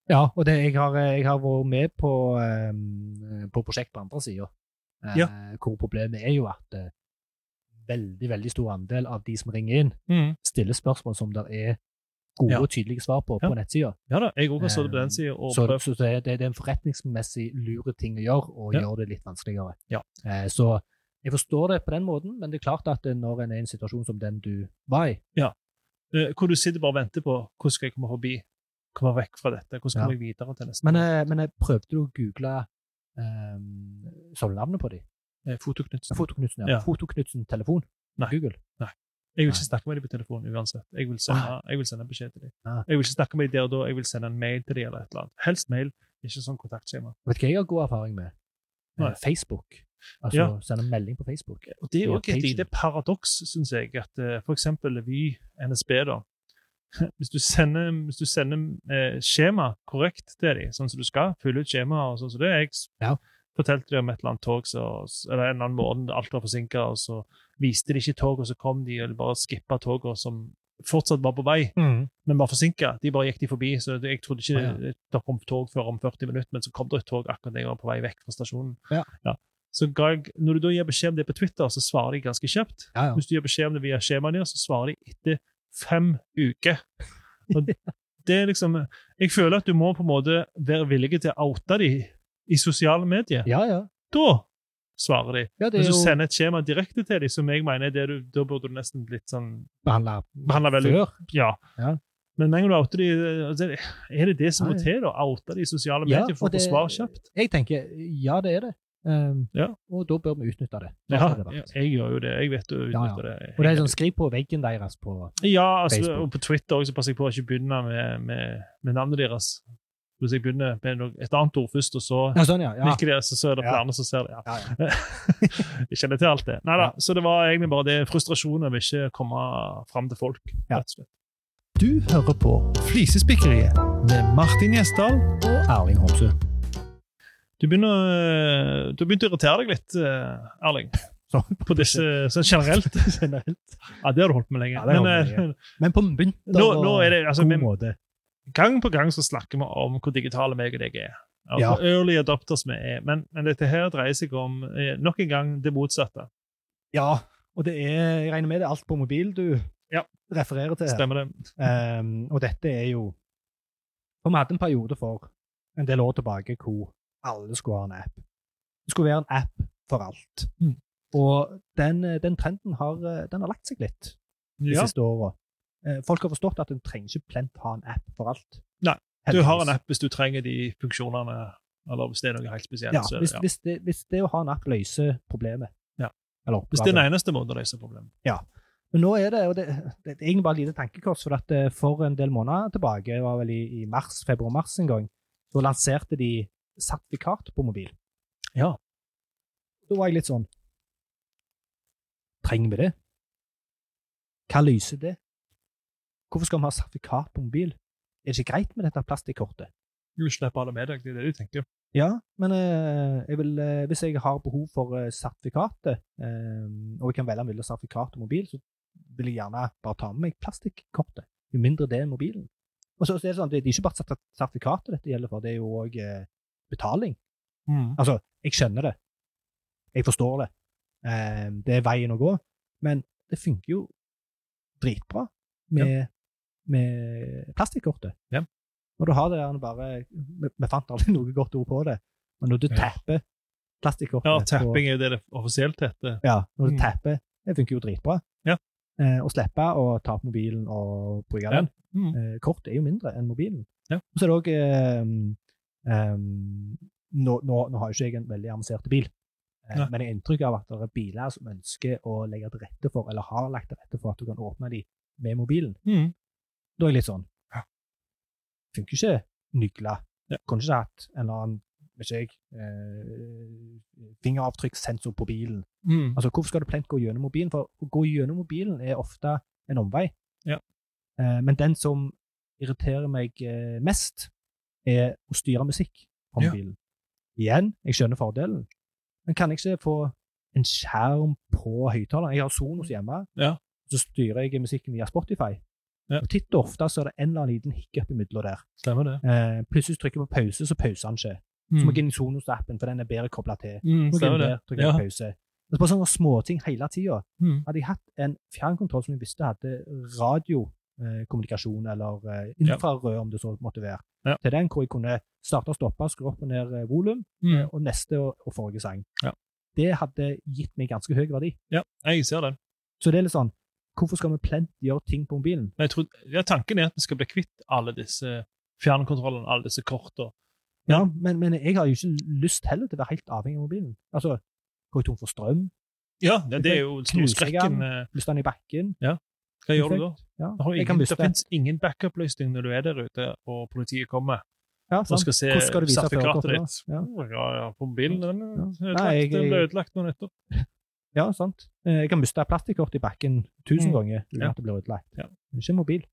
Ja, og det, jeg, har, eh, jeg har vært med på, eh, på prosjekt på andre sida, eh, Ja. hvor problemet er jo at eh, veldig veldig stor andel av de som ringer inn, stiller spørsmål som det er gode Ja. og tydelige svar på Ja. på nettsida. Ja da, jeg òg har stått på den sida og Eh, Så, prøvd. så det, det er en forretningsmessig lure ting å gjøre, og Ja. gjør det litt vanskeligere. Ja. Eh, så jeg forstår det på den måten, men det er klart at eh, når en er i en situasjon som den du var i, Eh, Hvor du sitter bare og venter på hvordan skal jeg komme forbi, komme vekk fra dette, hvordan kommer jeg videre til neste Men, eh, men jeg prøvde du å google um, samlenavnet på dem? Eh, Fotoknutsen. Fotoknutsen, ja. Ja. Fotoknutsen telefon? Nei. Google? Jeg vil ikke snakke med dem på telefon uansett. Jeg vil sende, jeg vil sende beskjed til dem. Ah. Jeg vil ikke snakke med dem der og da, jeg vil sende en mail til dem eller et eller annet. Helst mail, ikke sånn kontaktskjema. Vet du hva jeg har god erfaring med? Eh, Nei. Facebook. Altså Ja. sende melding på Facebook. Og Det er Ja, òg et pagen. lite paradoks, syns jeg, at eh, for eksempel Vy, NSB, da. Hvis du sender, hvis du sender eh, skjema korrekt til dem, sånn som du skal, fylle ut skjemaet og sånn som det Jeg s- Ja. fortalte dem om et eller annet tog som- eller en eller annen morgen da alt var forsinka, og så viste de ikke toget, og så kom de og bare skippa toget som fortsatt var på vei, men var forsinka. De bare gikk de forbi, så det- jeg trodde ikke Å, det kom tog før om 40 minutter, men så kom det et tog akkurat da jeg var på vei vekk fra stasjonen. Ja. Så ga jeg, når du da gir beskjed om det på Twitter, så svarer de ganske kjapt. Ja, ja. Hvis du gir beskjed om det via skjemaet deres, så svarer de etter fem uker. Og det er liksom, jeg føler at du må på en måte være villig til å oute dem i sosiale medier. Ja, ja. Da svarer de. ja det er Hvis du jo sender et skjema direkte til dem, som jeg mener er det du, da burde du nesten blitt sånn behandla behandla veldig før. Ja. Ja. Men med en gang du outer de, altså, er det det som Ja, må ja. til? da? Oute de i sosiale Ja, medier for og å få det- svar kjapt? Jeg tenker ja, det er det. Um, Ja. Og da bør vi utnytte det. Da Ja, skal det være. jeg gjør jo det. Jeg vet å Ja, utnytte det. Og det er sånn skriv på veggen deres på Ja, altså, Facebook. og på Twitter også, så passer jeg på å ikke begynne med, med, med navnet deres. Hvis jeg begynner med noe- et annet ord først, og så Ja, sånn, ja. ja. nikker de, så, så er det flere som ser det. Ja. ja, ja. Jeg kjenner til alt det. Nei da, Ja. så det var egentlig bare det frustrasjonen over ikke å komme fram til folk. Ja. rett og slett. Du hører på Flisespikkeriet med Martin Gjesdal. og Erling Homsø. Du begynner, eh, du har begynt å irritere deg litt, eh, Erling. Sånn. På disse sånn generelt. Ja, det har du holdt med lenge. Ja, det har jeg holdt med Men eh, Men på bunter nå, nå er det altså, god vi- måte. gang på gang så snakker vi om hvor digitale meg og deg er. Og Ja. hvor early adopters vi er. Men, men dette her dreier seg om eh, nok en gang det motsatte. Ja, og det er, jeg regner med det er alt på mobil du Ja. refererer til. her. Stemmer det? Um, og dette er jo For vi hadde en periode for en del år tilbake hvor alle skulle ha en app. Det skulle være en app for alt. Mm. Og den, eh, den trenden har, eh, den har lagt seg litt de Ja. siste åra. Eh, Folk har forstått at en trenger ikke plent ha en app for alt. Nei, Du har en Heldigvis. app hvis du trenger de funksjonene, eller hvis det er noe helt spesielt. Ja, så er hvis, det, ja. Hvis, det, hvis det å ha en app løser problemet. Ja. Eller hvis det er den eneste måten å løse problemet. Men nå er det, og det, det er egentlig bare et lite tankekors, for at eh, for en del måneder tilbake, det var vel i, i mars, februar-mars en gang, så lanserte de sertifikat på mobil. Ja. Da var jeg litt sånn Trenger vi det? Hva lyser det? Hvorfor skal vi ha sertifikat på mobil? Er det ikke greit med dette plastikkortet? Du slipper alle med deg, det er det du tenker. Ja, men eh, jeg vil, eh, hvis jeg har behov for eh, sertifikatet, eh, og jeg kan velge mellom sertifikat og mobil, så vil jeg gjerne bare ta med meg plastikkortet. Jo mindre det er mobilen. Og så, så er det sånn, det, det er ikke bare sertif- sertifikatet dette gjelder for, det er jo òg eh, betaling. Mm. Altså, jeg skjønner det. Jeg forstår det. Eh, det Ehm, er veien å gå. Men det funker jo dritbra med, med plastikkortet. Ja. Når du har det gjerne bare vi, vi fant aldri noe godt ord på det, men når du Ja. tapper plastikkortet Ja, på- tapping er det det offisielt heter. ja, når du Mm. tapper. Det funker jo dritbra. Ja. Eh, å slippe å ta opp mobilen og bruke den. Mm. Eh, kort er jo mindre enn mobilen. Ja. Og så er det òg eh, em, nå, nå, nå har jo ikke jeg en veldig avansert bil, eh, Nei. men jeg har inntrykk av at det er biler som ønsker å legge til rette for, eller har lagt til rette for, at du kan åpne de med mobilen. Mm. Da er jeg litt sånn Ja. Funker ikke nygla. Ja. Kunne ikke hatt en eller annen, vet ikke jeg, eh, fingeravtrykkssensor på bilen. Mm. Altså, Hvorfor skal du plent gå gjennom mobilen? For å gå gjennom mobilen er ofte en omvei. Ja. Eh, men den som irriterer meg eh, mest, er å styre musikk på Ja. mobilen. Igjen, jeg skjønner fordelen, men kan jeg ikke få en skjerm på høyttaleren? Jeg har Sonos hjemme, Mm. Ja. så styrer jeg musikken via Spotify. Ja. Og Titt og ofte så er det en eller annen liten hiccup imellom der. Stemmer det. Eh, plutselig trykker jeg på pause, så pauser han ikke. Så må jeg inn i Sonos-appen, for den er bedre kobla til. Mm, Må jeg stemmer inn det. der, trykker Ja. på pause. Det er bare sånne småting hele tida. Mm. Hadde jeg hatt en fjernkontroll som jeg visste hadde radiokommunikasjon, eller eh, infrarød, om det så måtte være, Ja. til den hvor jeg kunne starte og stoppe, skru opp og ned eh, volum, Mm. eh, og neste og, og forrige sang. Ja. Det hadde gitt meg ganske høy verdi. Ja, jeg ser den. Så det er litt sånn Hvorfor skal vi plent gjøre ting på mobilen? Men jeg tror, ja, tanken er at vi skal bli kvitt alle disse eh, fjernkontrollene, alle disse kortene. Ja, men, men jeg har jo ikke lyst heller til å være helt avhengig av mobilen. Altså, går jeg tom for strøm? Ja, det, det er jo den store Knuser jeg skrekken. den? eh, Mister den i bakken? Hva gjør du da? Ja, Det, har jeg ingen, kan det miste. finnes ingen backup-løsning når du er der ute og politiet kommer Ja, og sant. skal se Hvordan skal du vise sertifikatet førerkortet da? ditt. Ja. Oh, Ja, ja, på mobilen den er Ja. ødelagt, Nei, jeg- den ble ødelagt nå nettopp. Ja, sant. Eh, Jeg kan miste plastikkort i bakken tusen Mm. ganger uten Ja. at det blir ødelagt. Ja. Men ikke mobil.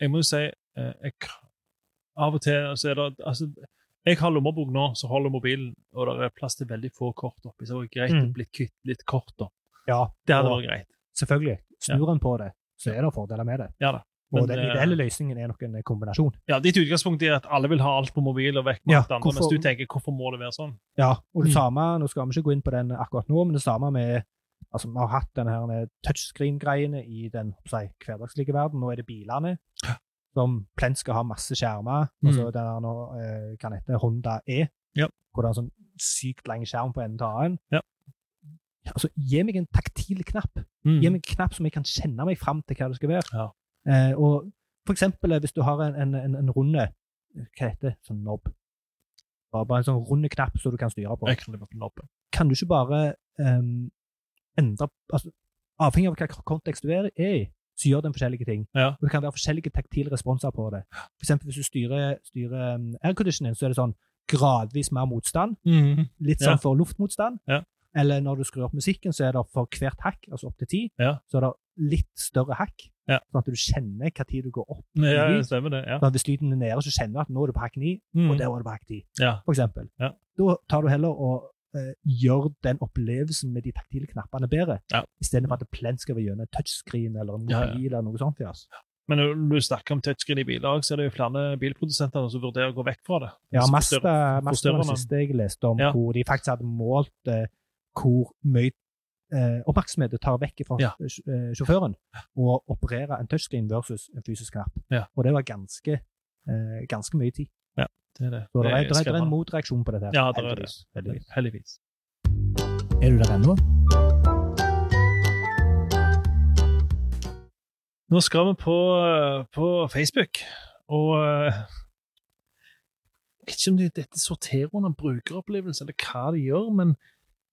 Jeg må jo si eh, jeg, Av og til så er det altså, Jeg har lommebok nå, så holder mobilen, og det er plass til veldig få kort oppi. Så det var greit å Mm. bli kvitt litt kort. da. Ja, Det hadde og vært greit. selvfølgelig. Snur en på det, så er det fordeler med det. Ja da. Og Men, den eh, ideelle løsningen er nok en kombinasjon. Ja, Ditt utgangspunkt er at alle vil ha alt på mobil og vekk med Ja, alt andre, hvorfor- mens du tenker hvorfor må det være sånn? Ja, og det Mm. samme, nå skal vi ikke gå inn på den akkurat nå, men det samme med altså Vi har hatt denne her med touchscreen-greiene i den hva skal jeg si, hverdagslige verden. Nå er det bilene som plent skal ha masse skjermer. Mm. altså Den her nå eh, kan hete Honda E, Ja. hvor det er en sånn sykt lang skjerm på enden til annen. Ja. Altså, gi meg en taktil knapp. Gi meg en knapp som jeg kan kjenne meg fram til hva det skal være. Mm. Ja. Eh, og for eksempel eh, hvis du har en, en, en, en runde Hva heter det? Sånn knob. Bare bare en sånn runde knapp som du kan styre på. Jeg kan leve på den oppe. Kan du ikke bare em, endre altså, Avhengig av hva kontekst du er er i, så gjør den forskjellige ting. Ja. Og det kan være forskjellige taktile responser på det. For eksempel hvis du styrer, styrer em, airconditioning, så er det sånn gradvis mer motstand litt Ja. sånn for luftmotstand. Ja. Eller når du skrur opp musikken, så er det for hvert hakk, altså opp til ti, Ja. så er det litt større hakk. Ja. Sånn at du kjenner hva tid du går opp. Ja, Mhm. det stemmer det. ja. Sånn at hvis lyden er nede, så kjenner du at nå er du på hakk ni, og der var du på hakk ti, Mm. Ja. for eksempel. Ja. Da tar du heller og eh, gjør den opplevelsen med de taktile knappene bedre, Ja. istedenfor at det plent skal være gjennom en touchscreen eller en mobil Ja, ja. eller noe sånt. Ja. Men når du snakker om touchscreen i biler, så er det jo flere bilprodusenter som vurderer å gå vekk fra det. Ja, Så Mazda større- Mazda var forstørrer det man. siste jeg leste om, Ja. hvor de faktisk hadde målt eh, hvor mye eh, oppmerksomhet det tar vekk fra Ja. sj- eh, sjåføren å operere en touchscreen versus en fysisk knapp. Ja. Og det var ganske, eh, ganske mye tid. Det er det. Så det, Det er, er det, er, det er en skremmende. motreaksjon på dette. her, Ja, det er det. heldigvis, Heldigvis. Heldigvis. Er du der ennå? Nå skal vi på, eh, på Facebook, og eh, Jeg vet ikke om det, dette sorterer under brukeropplevelse, eller hva det gjør, men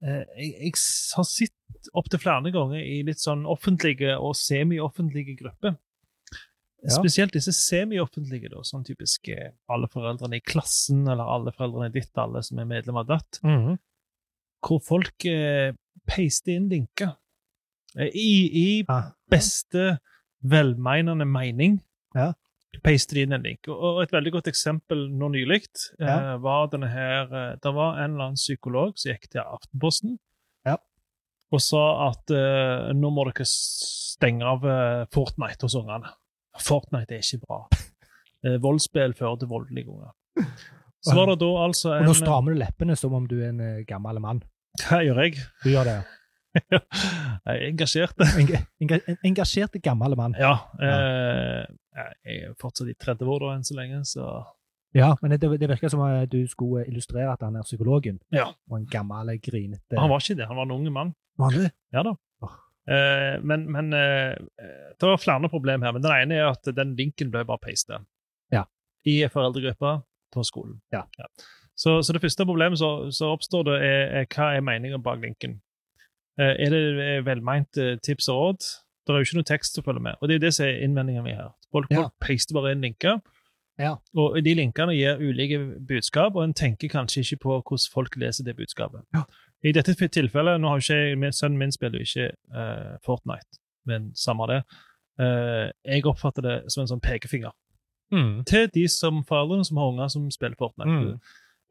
eh, jeg, jeg s- har sett opptil flere ganger i litt sånn offentlige og semi-offentlige grupper. Ja. Spesielt disse semi-offentlige, da, sånn typisk eh, alle foreldrene i klassen, eller alle foreldrene i ditt, alle som er medlem av datt. hvor folk eh, peister inn linker. Eh, I, I Ah, beste velmenende mening Ja. peister de inn en link. Og- Og et veldig godt eksempel nå nylig eh, Ja. var denne her eh, Det var en eller annen psykolog som gikk til Aftenposten Ja. og sa at eh, nå må dere stenge av eh, Fortnite hos ungene. Fortnite er ikke bra. Eh, voldsspill fører til voldelige unger. Så var det da altså og en nå strammer du leppene som om du er en eh, gammel mann. Hva gjør jeg? Du gjør det. Jeg er engasjert. Enga- enga- En engasjerte gammel mann. Ja. Eh, jeg er jo fortsatt i 30 år da, enn så lenge, så Ja, men det, det virker som at du skulle illustrere at han er psykologen. Ja. Og en gammel, grinete Han var ikke det, han var en ung mann. Var han det? Ja da. Eh, men men eh, det var flere problemer her. Men den ene er at den linken ble bare peista Ja. i foreldregruppa på skolen. Ja. Så, så det første problemet som som oppstår, det er, er hva er meningen bak linken. Eh, er det eh, velmeint eh, tips og råd? Det er jo ikke noe tekst å følge med. Og det er jo det som er innvendingen min her. Folk, Ja. folk peister bare inn linker. Ja. Og de linkene gir ulike budskap, og en tenker kanskje ikke på hvordan folk leser det budskapet. I dette tilfellet Nå har jo ikke jeg, min- sønnen min spiller jo ikke eh, Fortnite, men samme det. Eh, jeg oppfatter det som en sånn pekefinger Mm. til de som foreldrene som har unger som spiller Fortnite. Mm.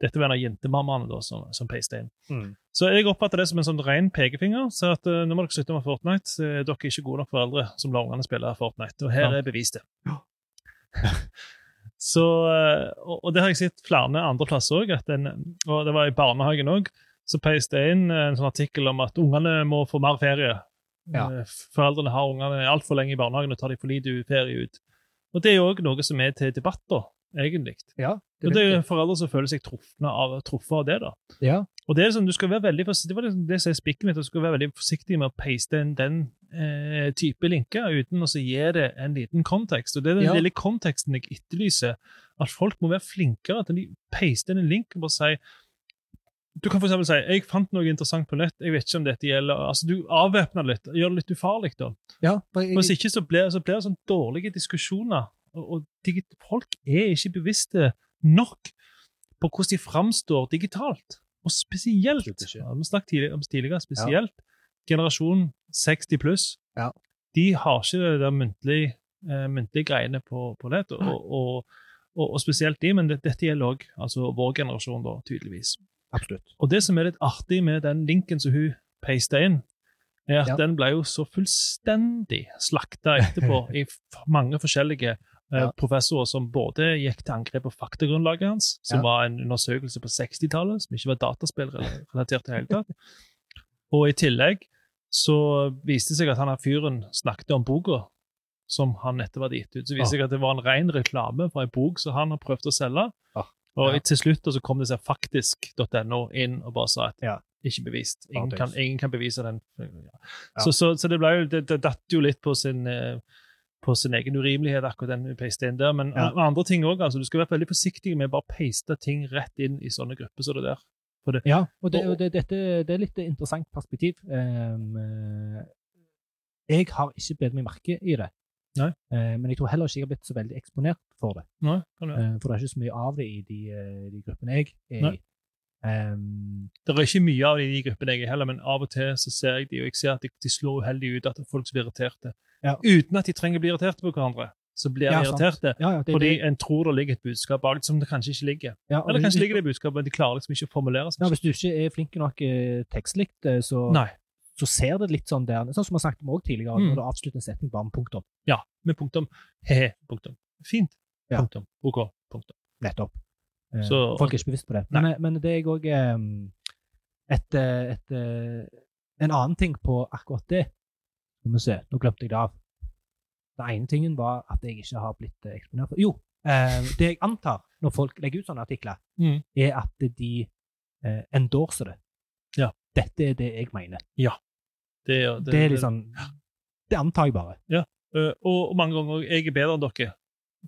Dette var en av jentemammaene da, som, som peiste inn. Mm. Så jeg oppfatter det som en sånn ren pekefinger. Så at eh, nå må dere slutte med Fortnite. eh, dere er ikke gode nok foreldre som lar ungene spille Fortnite. Og her Ja. er bevis det. Ja. så, eh, og, og det har jeg sett flere andre plasser òg, og det var i barnehagen òg. Så peiste jeg inn eh, en sånn artikkel om at ungene må få mer ferie. Ja. Eh, Foreldrene har ungene altfor lenge i barnehagen og tar de for lite ferie ut. Og det er jo òg noe som er til debatt, da, egentlig. Ja. Og det er jo foreldre som føler seg truffet av, truffet av det. da. ja. Og det er sånn, du skal være veldig forsiktig, Det var liksom det som er spikket mitt, at du skal være veldig forsiktig med å paste inn den eh, type linker uten å så gi det en liten kontekst. Og Det er den Ja. lille konteksten jeg etterlyser. At folk må være flinkere til å paste inn en link og bare si Du kan for eksempel si 'Jeg fant noe interessant på nett. Jeg vet ikke om dette gjelder' Altså, Du avvæpner det litt. Gjør det litt ufarlig, da. ja. for jeg- Hvis ikke så blir, så blir det sånn dårlige diskusjoner. Og, og digi- folk er ikke bevisste nok på hvordan de framstår digitalt. Og spesielt, Slutt ikke. ja, vi snakket tidligere, om tidligere, spesielt generasjon 60 pluss. Ja. De har ikke det der muntlige, eh, muntlige greiene på, på nett, og, og, og, og spesielt de, men det, dette gjelder òg altså vår generasjon, da, tydeligvis. Absolutt. Og det som er litt artig med den linken som hun peiste inn, er at Ja. den ble jo så fullstendig slakta etterpå i f- mange forskjellige eh, Ja. professorer som både gikk til angrep på faktagrunnlaget hans, som Ja. var en undersøkelse på 60-tallet, som ikke var dataspillrelatert i det hele tatt. Og i tillegg så viste det seg at han her fyren snakket om boka som han nettopp hadde gitt ut. Så viste det seg at Ah. det var en ren reklame for ei bok som han har prøvd å selge. Ah, Og ja. til slutt så kom det seg faktisk.no inn og bare sa at Ja. ikke bevist. Ingen Bare kan, tøys. ingen kan bevise den. Så, så, så det, ble jo, det, det datt jo litt på sin eh, på sin egen urimelighet, akkurat den paste inn der. Men Ja. a- andre ting òg. Altså, du skal være veldig forsiktig med å bare paste ting rett inn i sånne grupper som det der. Ja, og, det, og det, dette det er litt interessant perspektiv. Ehm, eh, jeg har ikke bedt meg merke i det. Nei. Eh, men jeg tror heller ikke jeg har blitt så veldig eksponert for det. Nei, kan du- Eh, for det er ikke så mye av det i de, eh, de gruppene jeg er Nei. i. Ehm, Det er ikke mye av det i de gruppene jeg er heller, men av og til så ser jeg de, og jeg ser at de, de slår uheldig ut at det er folk som blir irriterte. Ja. Uten at de trenger å bli irriterte på hverandre. Så blir de Ja, sant. irriterte ja, ja, det, fordi det, en tror det ligger et budskap bak som det kanskje ikke ligger. ja, og Eller hvis- kanskje ligger det et budskap, men de klarer liksom ikke å formulere ja, seg. Hvis du ikke er flink nok eh, tekstlig, eh, så, Nei, så ser det litt sånn der Sånn som vi har snakket om også tidligere, Mm. når du avslutter en setning bare med punktum. med punktum. He-he, punktum. Fint. Ja. Punktum. OK. Punktum. Nettopp. Eh, Så- folk er ikke bevisst på det. Men, eh, men det er jeg òg et, eh, et, eh, En annen ting på akkurat det Skal vi se, nå glemte jeg det av. Den ene tingen var at jeg ikke har blitt eh, eksponert for Jo, eh, det jeg antar når folk legger ut sånne artikler, Mm. er at de eh, endorser det. Ja. Dette er det jeg mener. Det, er- Det, er liksom Det antar jeg bare. Øh, og og mange ganger jeg er bedre enn dere.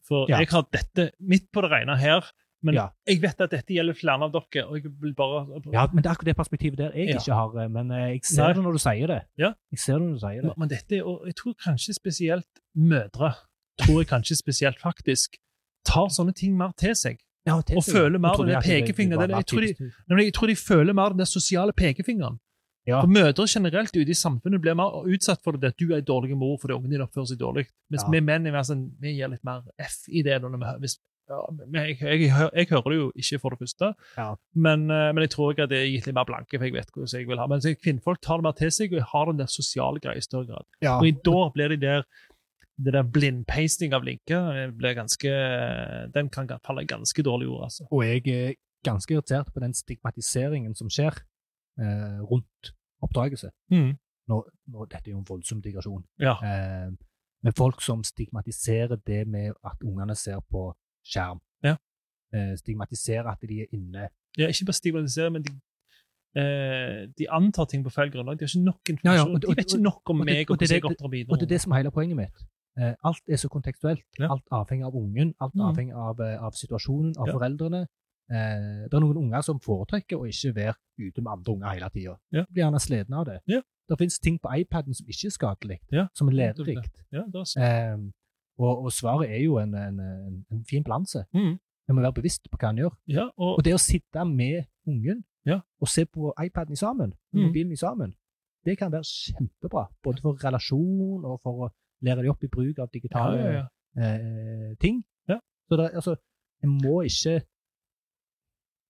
For Ja. jeg har dette midt på det rene her, men Ja. jeg vet at dette gjelder flere av dere, og jeg vil bare Ja, men Det er akkurat det perspektivet der jeg Ja. ikke har, eh, men eh, jeg ser Nei. det når du sier det. Ja. Jeg ser det når du sier det. Men, men dette, er- og jeg tror kanskje spesielt mødre, tror jeg kanskje spesielt faktisk, tar sånne ting mer til seg. Ja, til Og seg. føler Jeg mer trodde den at det- det pekefingeren, var det- jeg bare tror de- typisk- Nei, men Jeg tror de føler mer den der sosiale pekefingeren. Ja. For Mødre generelt ute i samfunnet blir mer utsatt for det at du er en dårlig mor fordi ungen din oppfører seg dårlig. Mens Ja. vi menn er mer sånn, vi gir litt mer F i det. Når vi, hø- hvis, ja, men jeg, jeg, jeg, hø- jeg hører det jo ikke, for det første, Ja. men, eh, men jeg tror ikke at det er gitt litt mer blanke, for jeg vet hvordan jeg vil ha. Men så kvinnfolk tar det mer til seg og har den der sosiale greia i større grad. Ja. Og i da blir de der det der blindpasting av linker eh, blir ganske, eh, den kan falle ganske dårlig i ord, altså. Og jeg er ganske irritert på den stigmatiseringen som skjer eh, rundt eh, oppdragelse. nå, nå, Dette er jo en voldsom digresjon. Ja. Eh, men folk som stigmatiserer det med at ungene ser på skjerm. Ja. Eh, stigmatiserer at de er inne. ja ikke bare stigmatisere, men de, eh, de antar ting på feil grunnlag. De har ikke nok Ja, ja, informasjon. og- de vet ikke nok om og- meg og og det- hvordan jeg og det- oppdrar Og det er videre. det som er hele poenget mitt. Eh, alt er så kontekstuelt. Ja. Alt avhenger av ungen, alt Mhm. avhenger av, eh, av situasjonen, av Ja. foreldrene. Eh, det er noen unger som foretrekker å ikke være ute med andre unger hele tida. Ja. Blir gjerne slitne av det. Ja. Det fins ting på iPaden som ikke er skadelig, Ja. som er lærerikt. Ja, det er så. Eh, og, og svaret er jo en, en, en, en fin balanse. Mhm. En må være bevisst på hva en gjør. ja, og, Mm. Og det å sitte med ungen Ja. og se på iPaden i sammen, Mm. mobilen i sammen, det kan være kjempebra. Både for relasjon og for å lære dem opp i bruk av ja, digitale ja, ja. Eh, ting. Ja. Så det, altså, en må ikke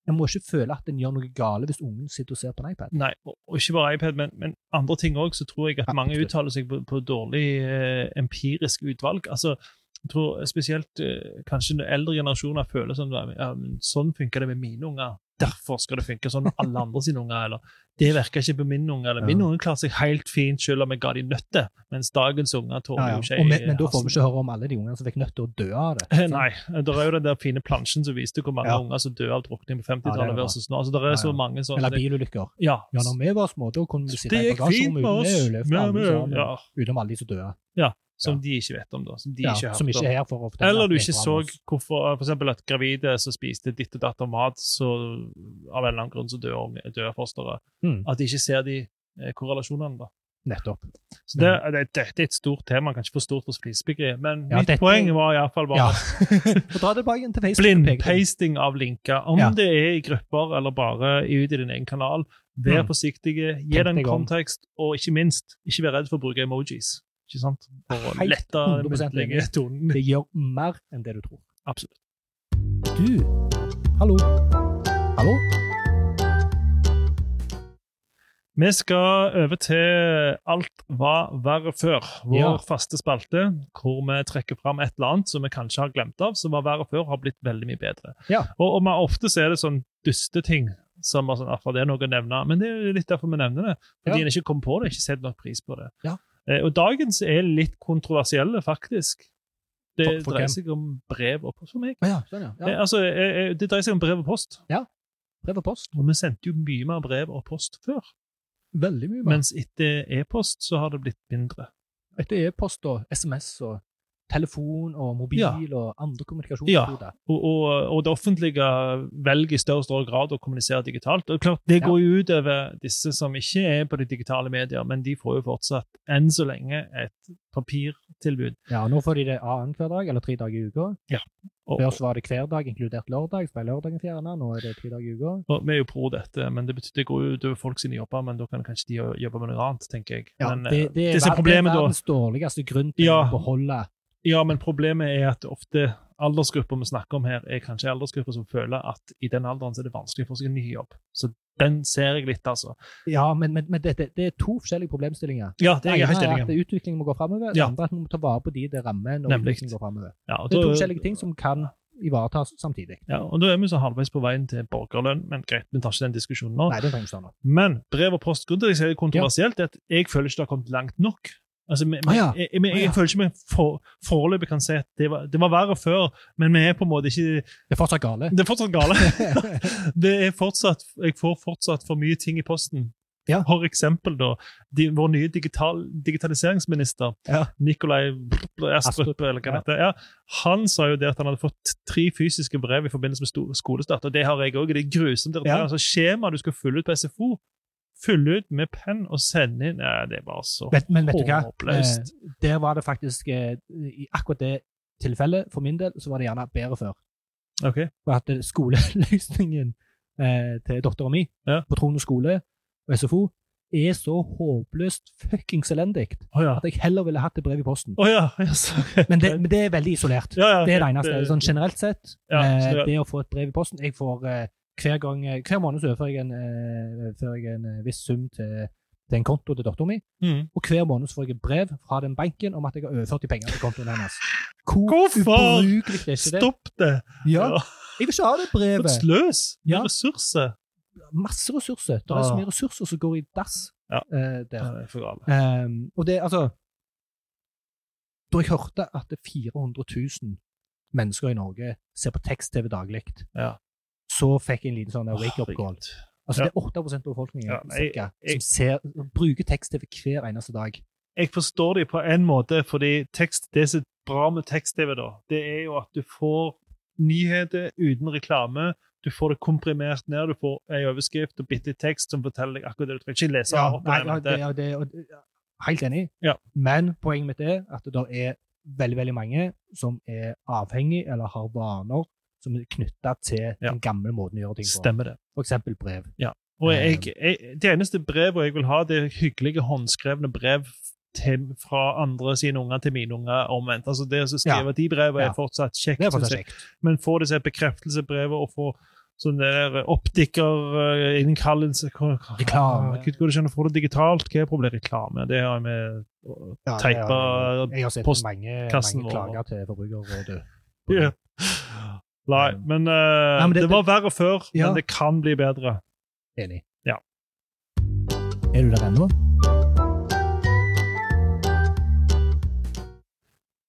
en må ikke føle at en gjør noe gale hvis ungen sitter og ser på en iPad. Nei, og og ikke bare iPad, men, men andre ting òg, så tror jeg at Ja, mange absolutt. uttaler seg på, på dårlig eh, empirisk utvalg. Altså, jeg tror spesielt eh, kanskje de eldre generasjoner føler som ja, men sånn funker det med mine unger. Derfor skal det funke sånn med alle andre sine unger. Eller det virker ikke på min unge. Eller min Ja. unge klarer seg helt fint selv om jeg ga de nøtter, mens dagens unger tåler jo ikke Og men, men da får hassen. vi ikke høre om alle de ungene som fikk nødt til å dø av det. Eh, Nei. Det er jo den der fine plansjen som viste hvor mange Ja. unger som dør av drukning på Ja, det 50-tallet er bra. versus nå. Altså, det er Ja, ja. så mange sånne Eller bilulykker. Ja. Ja, når vi var små, da kunne vi sitte Det i gikk fint med bagasjerommet uten oss. øl, Ja, alle men- eh, sammen, ja. utenom alle de som døde. Som Ja. de ikke vet om, da. Som de Ja, ikke har som hørt ikke om. er her for å fortelle. Eller at du vi er ikke fra så Moss. hvorfor for eksempel at gravide som spiste ditt og datt av mat, så av en eller annen grunn så dør, unge- dør fosteret. Mm. At de ikke ser de eh, korrelasjonene. da. Nettopp. Hmm. Så det, eh, det, dette er et stort tema, kanskje for stort for flisebyggeriet, men Ja, mitt dette- poeng var iallfall bare Ja. at Så dra det tilbake igjen til Facebook. blindpasting av linker. Om Ja. det er i grupper eller bare ut i din egen kanal, vær Mm. forsiktige, gi Tenk den deg om. kontekst, og ikke minst, ikke vær redd for å bruke emojis. Ikke sant? For å Helt lette den 100% muntlige enig. tonen. Det gjør mer enn det du tror. Absolutt. Du, hallo. Hallo? Vi skal over til Alt var verre før, vår Ja. faste spalte, hvor vi trekker fram et eller annet som vi kanskje har glemt av, som var verre før, har blitt veldig mye bedre. Ja. Og, og vi- ofte så er det sånn dusteting som er sånn, «Ah, det er noe å nevne, men det er jo litt derfor vi nevner det. Fordi Ja. en ikke kom på det, ikke sett nok pris på det. Ja. Eh, og dagens er litt kontroversielle, faktisk. Det For- for hvem? dreier seg om brev og post for meg. Ja, sånn, ja. Eh, ja. altså, eh, eh, det dreier seg om brev og post. Brev og post. Og vi sendte jo mye mer brev og post før. Veldig mye mer. Mens etter e-post så har det blitt mindre. Etter e-post og SMS og telefon og mobil Ja. og andre Ja. kommunikasjonskoder. Og, og, og det offentlige velger i større og større grad å kommunisere digitalt. Og klart, Det går jo ut over disse som ikke er på de digitale medier, men de får jo fortsatt, enn så lenge, et papirtilbud. Ja. nå får de det annenhver dag eller tre dager i uka. Og, Før så var det hver dag, inkludert lørdag. Så ble lørdagen fjernet. Nå er det tre dager i uka. og Vi er jo pro dette, men det, betyr, det går jo ut over folk sine jobber, men da kan kanskje de jobbe med noe annet, tenker jeg. Ja, men, det, eh, det, er, disse ver- det er problemene da- verdens dårligste grunn til Ja. å beholde ja, men problemet er at ofte aldersgrupper vi snakker om her, er kanskje aldersgrupper som føler at i den alderen så er det vanskelig for seg en ny jobb. Så den ser jeg litt, altså. Ja, men, men, men det, det, det er to forskjellige problemstillinger. Ja, det Det er jeg ene helt er enig i. at utviklingen må gå framover. Det Ja. andre er at vi må ta vare på de det rammer. når Nemlig. utviklingen går fremover. Ja, og Det er to da- forskjellige ting som kan ivaretas samtidig. Ja, og Da er vi så halvveis på veien til borgerlønn, men greit, vi tar ikke den diskusjonen nå. Nei, det trenger ikke sånn. Men brev og post, grunnen til at jeg sier det er kontroversielt, er at jeg føler ikke det har kommet langt nok. Altså, vi, vi, Ah, ja. jeg, jeg, jeg, Ah, ja. føler ikke vi for, foreløpig kan si at det var, det var verre før, men vi er på en måte ikke Det er fortsatt gale. Det er fortsatt gale. det er fortsatt, jeg får fortsatt for mye ting i posten. Ja. For eksempel da, de, vår nye digital, digitaliseringsminister, Ja. Nikolai Astrup, Astrup, eller hva ja. det heter, ja, han sa jo det at han hadde fått tre fysiske brev i forbindelse med sto- skolestart, og det har jeg òg. Det er grusomt. Det er Ja. altså, skjema du skal fylle ut på SFO, fylle ut med penn og sende inn Nei, Det er bare så Men, men vet du hva? Håpløst. Eh, Der var det faktisk eh, I akkurat det tilfellet, for min del, så var det gjerne bedre før. OK. For at eh, skoleløsningen eh, til dattera mi Ja. på Trono skole og SFO er så håpløst fuckings elendig Å ja. at jeg heller ville hatt et brev i posten. Å ja. Yes. Men det, men det er veldig isolert. ja, ja, Det er det ok, eneste. Sånn generelt sett, Ja, så eh, det- det å få et brev i posten Jeg får eh, hver gang, eh, hver måned så overfører jeg en, eh, overfører jeg en eh, viss sum til, til en konto til datteren min, Mm. og hver måned så får jeg et brev fra den banken om at jeg har overført de pengene til kontoen hennes. Hvor Hvorfor? ubrukelig er ikke det? Stopp det! Ja, jeg vil ikke ha det For et brevet! sløs med Ja. ressurser. Masse ressurser. Det er så mye ressurser som går i dass. Ah. Ja. eh, der. Det er for gale. Ehm, og det, altså Da jeg hørte at det er 400 000 mennesker i Norge ser på tekst-TV daglig, Ja. så fikk jeg en liten sånn der wake-up call. Altså Det er 8 av befolkningen Ja, jeg- cirka, jeg- som, ser, som bruker tekst-TV hver eneste dag. jeg forstår dem på en måte, fordi tekst, det som er bra med tekst-TV, da, det er jo at du får nyheter uten reklame. Du får det komprimert ned, du får ei overskrift og bitte litt tekst som forteller deg akkurat det du trenger. Ikke lese Ja, av opp nei, igjen, ja, det- det, ja, det, og, det- helt enig, Ja. men poenget mitt er at det er veldig veldig mange som er avhengig eller har vaner som er knytta til Ja. den gamle måten å gjøre ting på. Stemmer det. For eksempel brev. Og jeg, Ehm. jeg, det eneste brevet jeg vil ha, det er hyggelige håndskrevne brev til, fra andre sine unger til mine unger omvendt. Altså det å skrive de brevene Ja. er fortsatt kjekt. Det er synes jeg. faktisk kjekt. men få disse bekreftelsesbrevene og få sånne der eh, optikerinnkallelse Reklame. Gud, går det ikke an å få det digitalt? Hva er problemet? Reklame. Det har jeg med Ja, det teipa har jeg- Jeg har sett post- mange, kassen mange vår. klager til Forbrukerrådet. Ja. Nei, men, eh, Nei, men det, det- var verre før, Ja. men det kan bli bedre. Enig. Ja. Er du der ennå?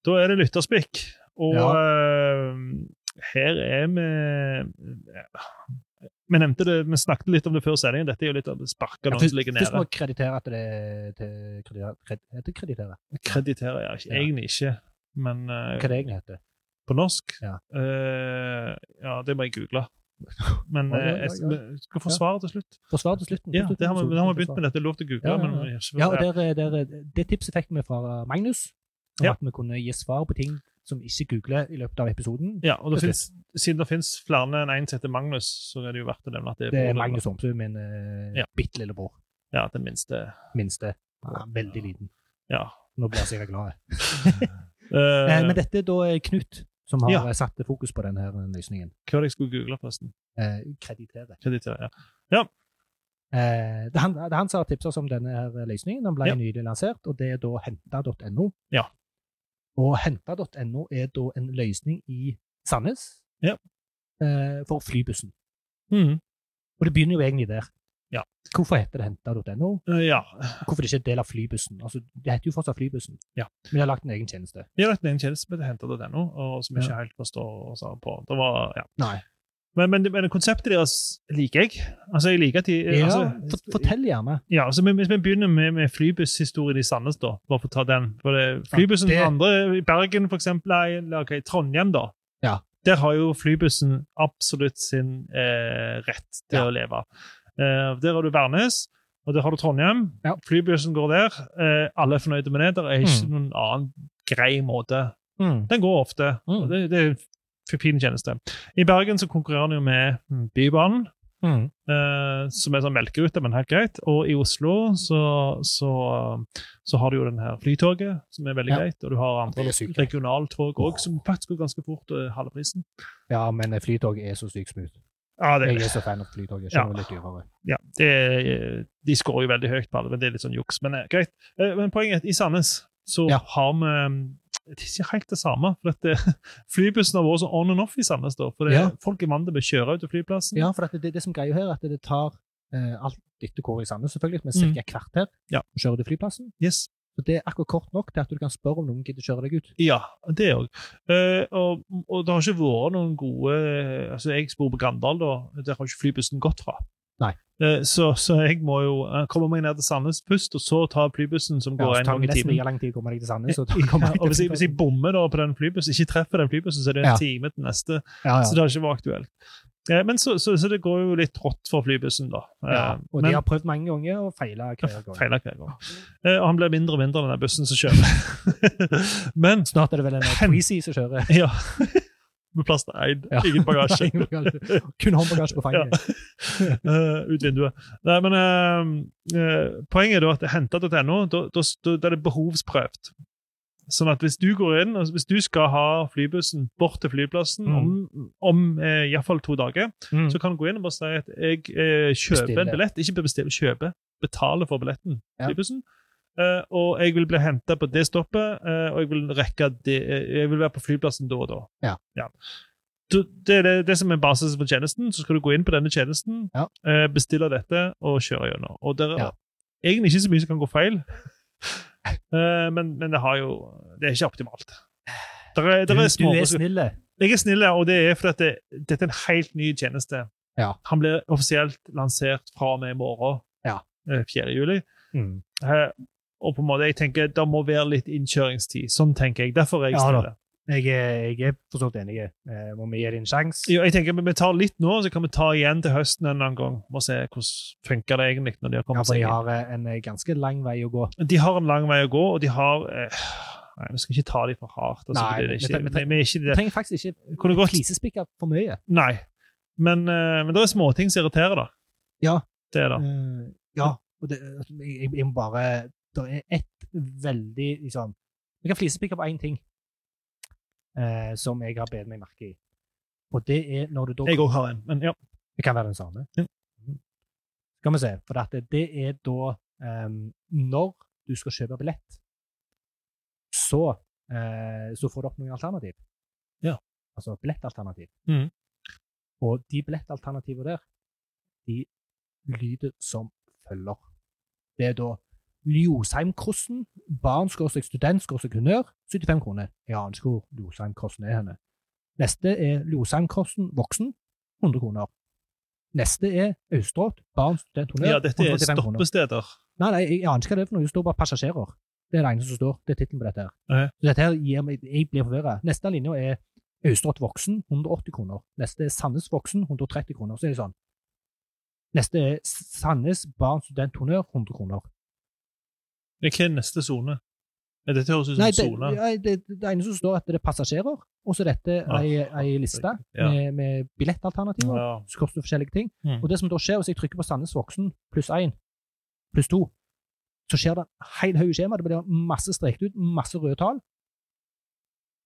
Da er det lytterspikk. Og Ja. eh, her er vi vi nevnte det, vi snakket litt om det før sendingen. Dette er jo litt av det sparket Ja, noen først, som ligger først må nede. jeg kreditere at det er til kreditere. Heter det kreditere? Krediterer jeg ikke. Ja. egentlig ikke, men eh, Hva er det egentlig heter? på norsk? Ja. Eh, ja, det må jeg google. Men Oi, oi, eh, jeg oi, oi. jeg skal få Ja. svaret til slutt. Forsvar til slutten. Ja, det har vi, det har vi begynt med dette. Det er lov til å google, Ja, ja, ja. men eh, vi har ikke Ja, og der, er- der, er- Det tipset fikk vi fra Magnus, om Ja. at vi kunne gi svar på ting som vi ikke googler i løpet av episoden. Ja, og det til finnes, siden det finnes flere enn en som heter Magnus, så er det jo verdt å nevne at det er, Det er broren. Magnus Omsø, min eh, Ja. bitte lillebror. Ja, den minste. Minste. Ja, veldig liten. Ja. Nå blir jeg sikkert glad. Eh, Eh, men dette er da eh, Knut som har Ja. eh, satt fokus på denne løsningen. Hva var det jeg skulle google, forresten? Eh, kreditere. Kreditere, ja. Eh, det, er han, det er han som har tipsa oss om denne her eh, løsningen. Den ble Ja. nylig lansert, og det er da henta.no. Ja. Og henta.no er da en løsning i Sandnes Ja. eh, for flybussen. Mhm. Og det begynner jo egentlig der. Ja. Hvorfor heter det henta.no? Eh, ja. Hvorfor det ikke er en del av flybussen? Altså, Det heter jo fortsatt Flybussen, Ja. men de har lagt en egen tjeneste. Vi har lagt ned en tjeneste som heter hentet.no, og som jeg ikke helt forstår oss av på. Det var, ja. Nei. Men, men, men konseptet deres liker jeg. Altså, jeg liker at de Ja, altså, fort- Fortell gjerne. Ja, altså men Hvis vi begynner med, med flybusshistorien i Sandnes, da, bare for å ta den for det, Flybussen Ja, det- andre i Bergen, for eksempel, nei, eller, ok, Trondheim, da. Ja. Der har jo flybussen absolutt sin eh, rett til Ja. å leve. Eh, der har du Værnes, og der har du Trondheim. Ja. Mm. Flybussen går der. Eh, alle er fornøyde med det. Det er ikke noen annen grei måte den går ofte. Mm. og Det, det er en f- fin tjeneste. I Bergen så konkurrerer den jo med mm, Bybanen, Mm. eh, som er sånn melkerute, men helt greit. Og i Oslo så, så, så har du jo den her Flytoget, som er veldig Ja. greit. Og du har andre Det er sykt. regionaltog òg, som faktisk går ganske fort, og er halve prisen. Ja, men eh, flytog er så sykt smooth. Ja, det Jeg er er så fan av flytog. Jeg Ja. skjønner det er litt dyrere. ja, det, er- eh, de skårer jo veldig høyt på alle, men det er litt sånn juks. Men eh, greit. Eh, Men poenget er at i Sandnes så Ja. har vi mm, det er ikke helt det samme. for at eh, Flybussen har vært så on and off i Sandnes. da, for det, Ja. Folk er vant til å kjøre ut til flyplassen. Ja, for at det, det, det som greier her, er at det tar eh, alt etter hvor i Sandnes, selvfølgelig, men Mm. ca. et kvarter Ja. å kjøre til flyplassen. Yes. Så det er akkurat kort nok til at du kan spørre om noen gidder kjøre deg ut. Ja, det òg. og, og det har ikke vært noen gode altså Jeg bor på Grandal, da. Der har ikke flybussen gått fra. Nei. Eh, så, så jeg må jo eh, komme meg ned til Sandnes først, og så ta flybussen som Ja, går så en tar gang det i nesten timen. like lang tid å komme deg til Sandnes. Ja, så da kommer jeg og hvis jeg, til- hvis jeg bommer da på den flybussen, ikke treffer den flybussen, så er det en Ja. time til neste. ja, Så ja. det har ikke vært aktuelt. Eh, Men så, så, så det går jo litt rått for flybussen, da. Eh, ja. Og men de har prøvd mange ganger og feila hver gang. feiler hver gang. Eh, Og han blir mindre og mindre, den der bussen som kjører. men Snart er det vel en Hen- Preezy som kjører. ja Med plass til én, Ja. ingen bagasje. Nei, bagasje. Kun håndbagasje på fanget. Eh, ut vinduet. Nei, men eh, eh, poenget er da at hentet.no, da, da, da er det behovsprøvd. Sånn at hvis du går inn, altså hvis du skal ha flybussen bort til flyplassen om, om eh, i hvert fall to dager, Mm. så kan du gå inn og bare si at jeg eh, kjøper Bestiller. en billett, ikke bestiller, kjøper, betaler for billetten, Ja. flybussen, eh, og jeg vil bli hentet på det stoppet, eh, og jeg vil rekke det, eh, jeg vil være på flyplassen da og da. Ja. Du, det er det, det som er basis for tjenesten, så skal du gå inn på denne tjenesten, Ja. eh, bestille dette og kjøre gjennom. Og der, Ja. Egentlig ikke så mye som kan gå feil, Eh, men, men det har jo Det er ikke optimalt. Der er, Du, der er du små er snill. Jeg er snill, og det er fordi at det, dette er en helt ny tjeneste. Ja. Han blir offisielt lansert fra og med i morgen, Ja. eh, 4. juli. Mm. Eh, og på en måte, jeg tenker Det må være litt innkjøringstid. Sånn tenker jeg. Derfor er jeg Ja da. snill. Jeg, er- jeg er for så vidt enig. Eh, Må vi gi det en sjanse? Jo, jeg tenker Vi vi tar litt nå, så kan vi ta igjen til høsten en eller annen gang. Må se hvordan funker det egentlig når de har Ja, kommet for seg de inn. har eh, en eh, ganske lang vei å gå. De har en lang vei å gå, og de har eh, Nei, vi skal ikke ta dem for hardt. Altså, Nei, fordi det er vi ikke, tre- vi, vi er ikke Du det. trenger faktisk ikke Kunne godt, flisespikke for mye. nei. Men, eh, men det er småting som irriterer, da. Ja. Det er det. Eh, Ja. Og det, altså, jeg, jeg må bare Det er ett veldig liksom Vi kan flisespikke på én ting eh, som jeg har bedt meg merke i. Og det er når du da Jeg òg har en. Men ja. Det kan være den samme. Ja. Mhm. Skal vi se. For at det, det er da em, Ehm, Når du skal kjøpe billett, så, eh, så får du opp noen alternativ. Ja. Altså billettalternativ. Mhm. Og de billettalternativene der, de lyder som følger. Det er da Ljoseim-kosten, barn, skråstrek student, skråstrek honnør, 75 kroner. Jeg aner ikke hvor Ljoseim-kosten er henne. Neste er Ljoseim-kosten voksen, 100 kroner. Neste er Austrått, barn, student, honnør. ja, dette er 145 kroner. stoppesteder. Nei, nei, jeg aner ikke hva det er for noe. Det står bare passasjerer. Det er det eneste som står. Det er tittelen på dette. her. Ok. Så dette her gir meg, Jeg blir forvirra. Neste linje er Austrått voksen, 180 kroner. Neste er Sandnes voksen, 130 kroner. Så er det sånn. Neste er Sandnes barn, student, honnør, 100 kroner. Men Hva er neste sone? Ja, Dette høres ut som Nei, en det, sone. ja, det, det eneste som står, er at det er passasjerer, og så er dette Ah, ei, ei liste ja. med, med billettalternativer. Ja. så koster det forskjellige ting. Mm. Og det som da skjer, hvis jeg trykker på Sandnes voksen pluss 1, pluss 2, så skjer det en hel haug skjema. Det blir masse strekt ut, masse røde tall.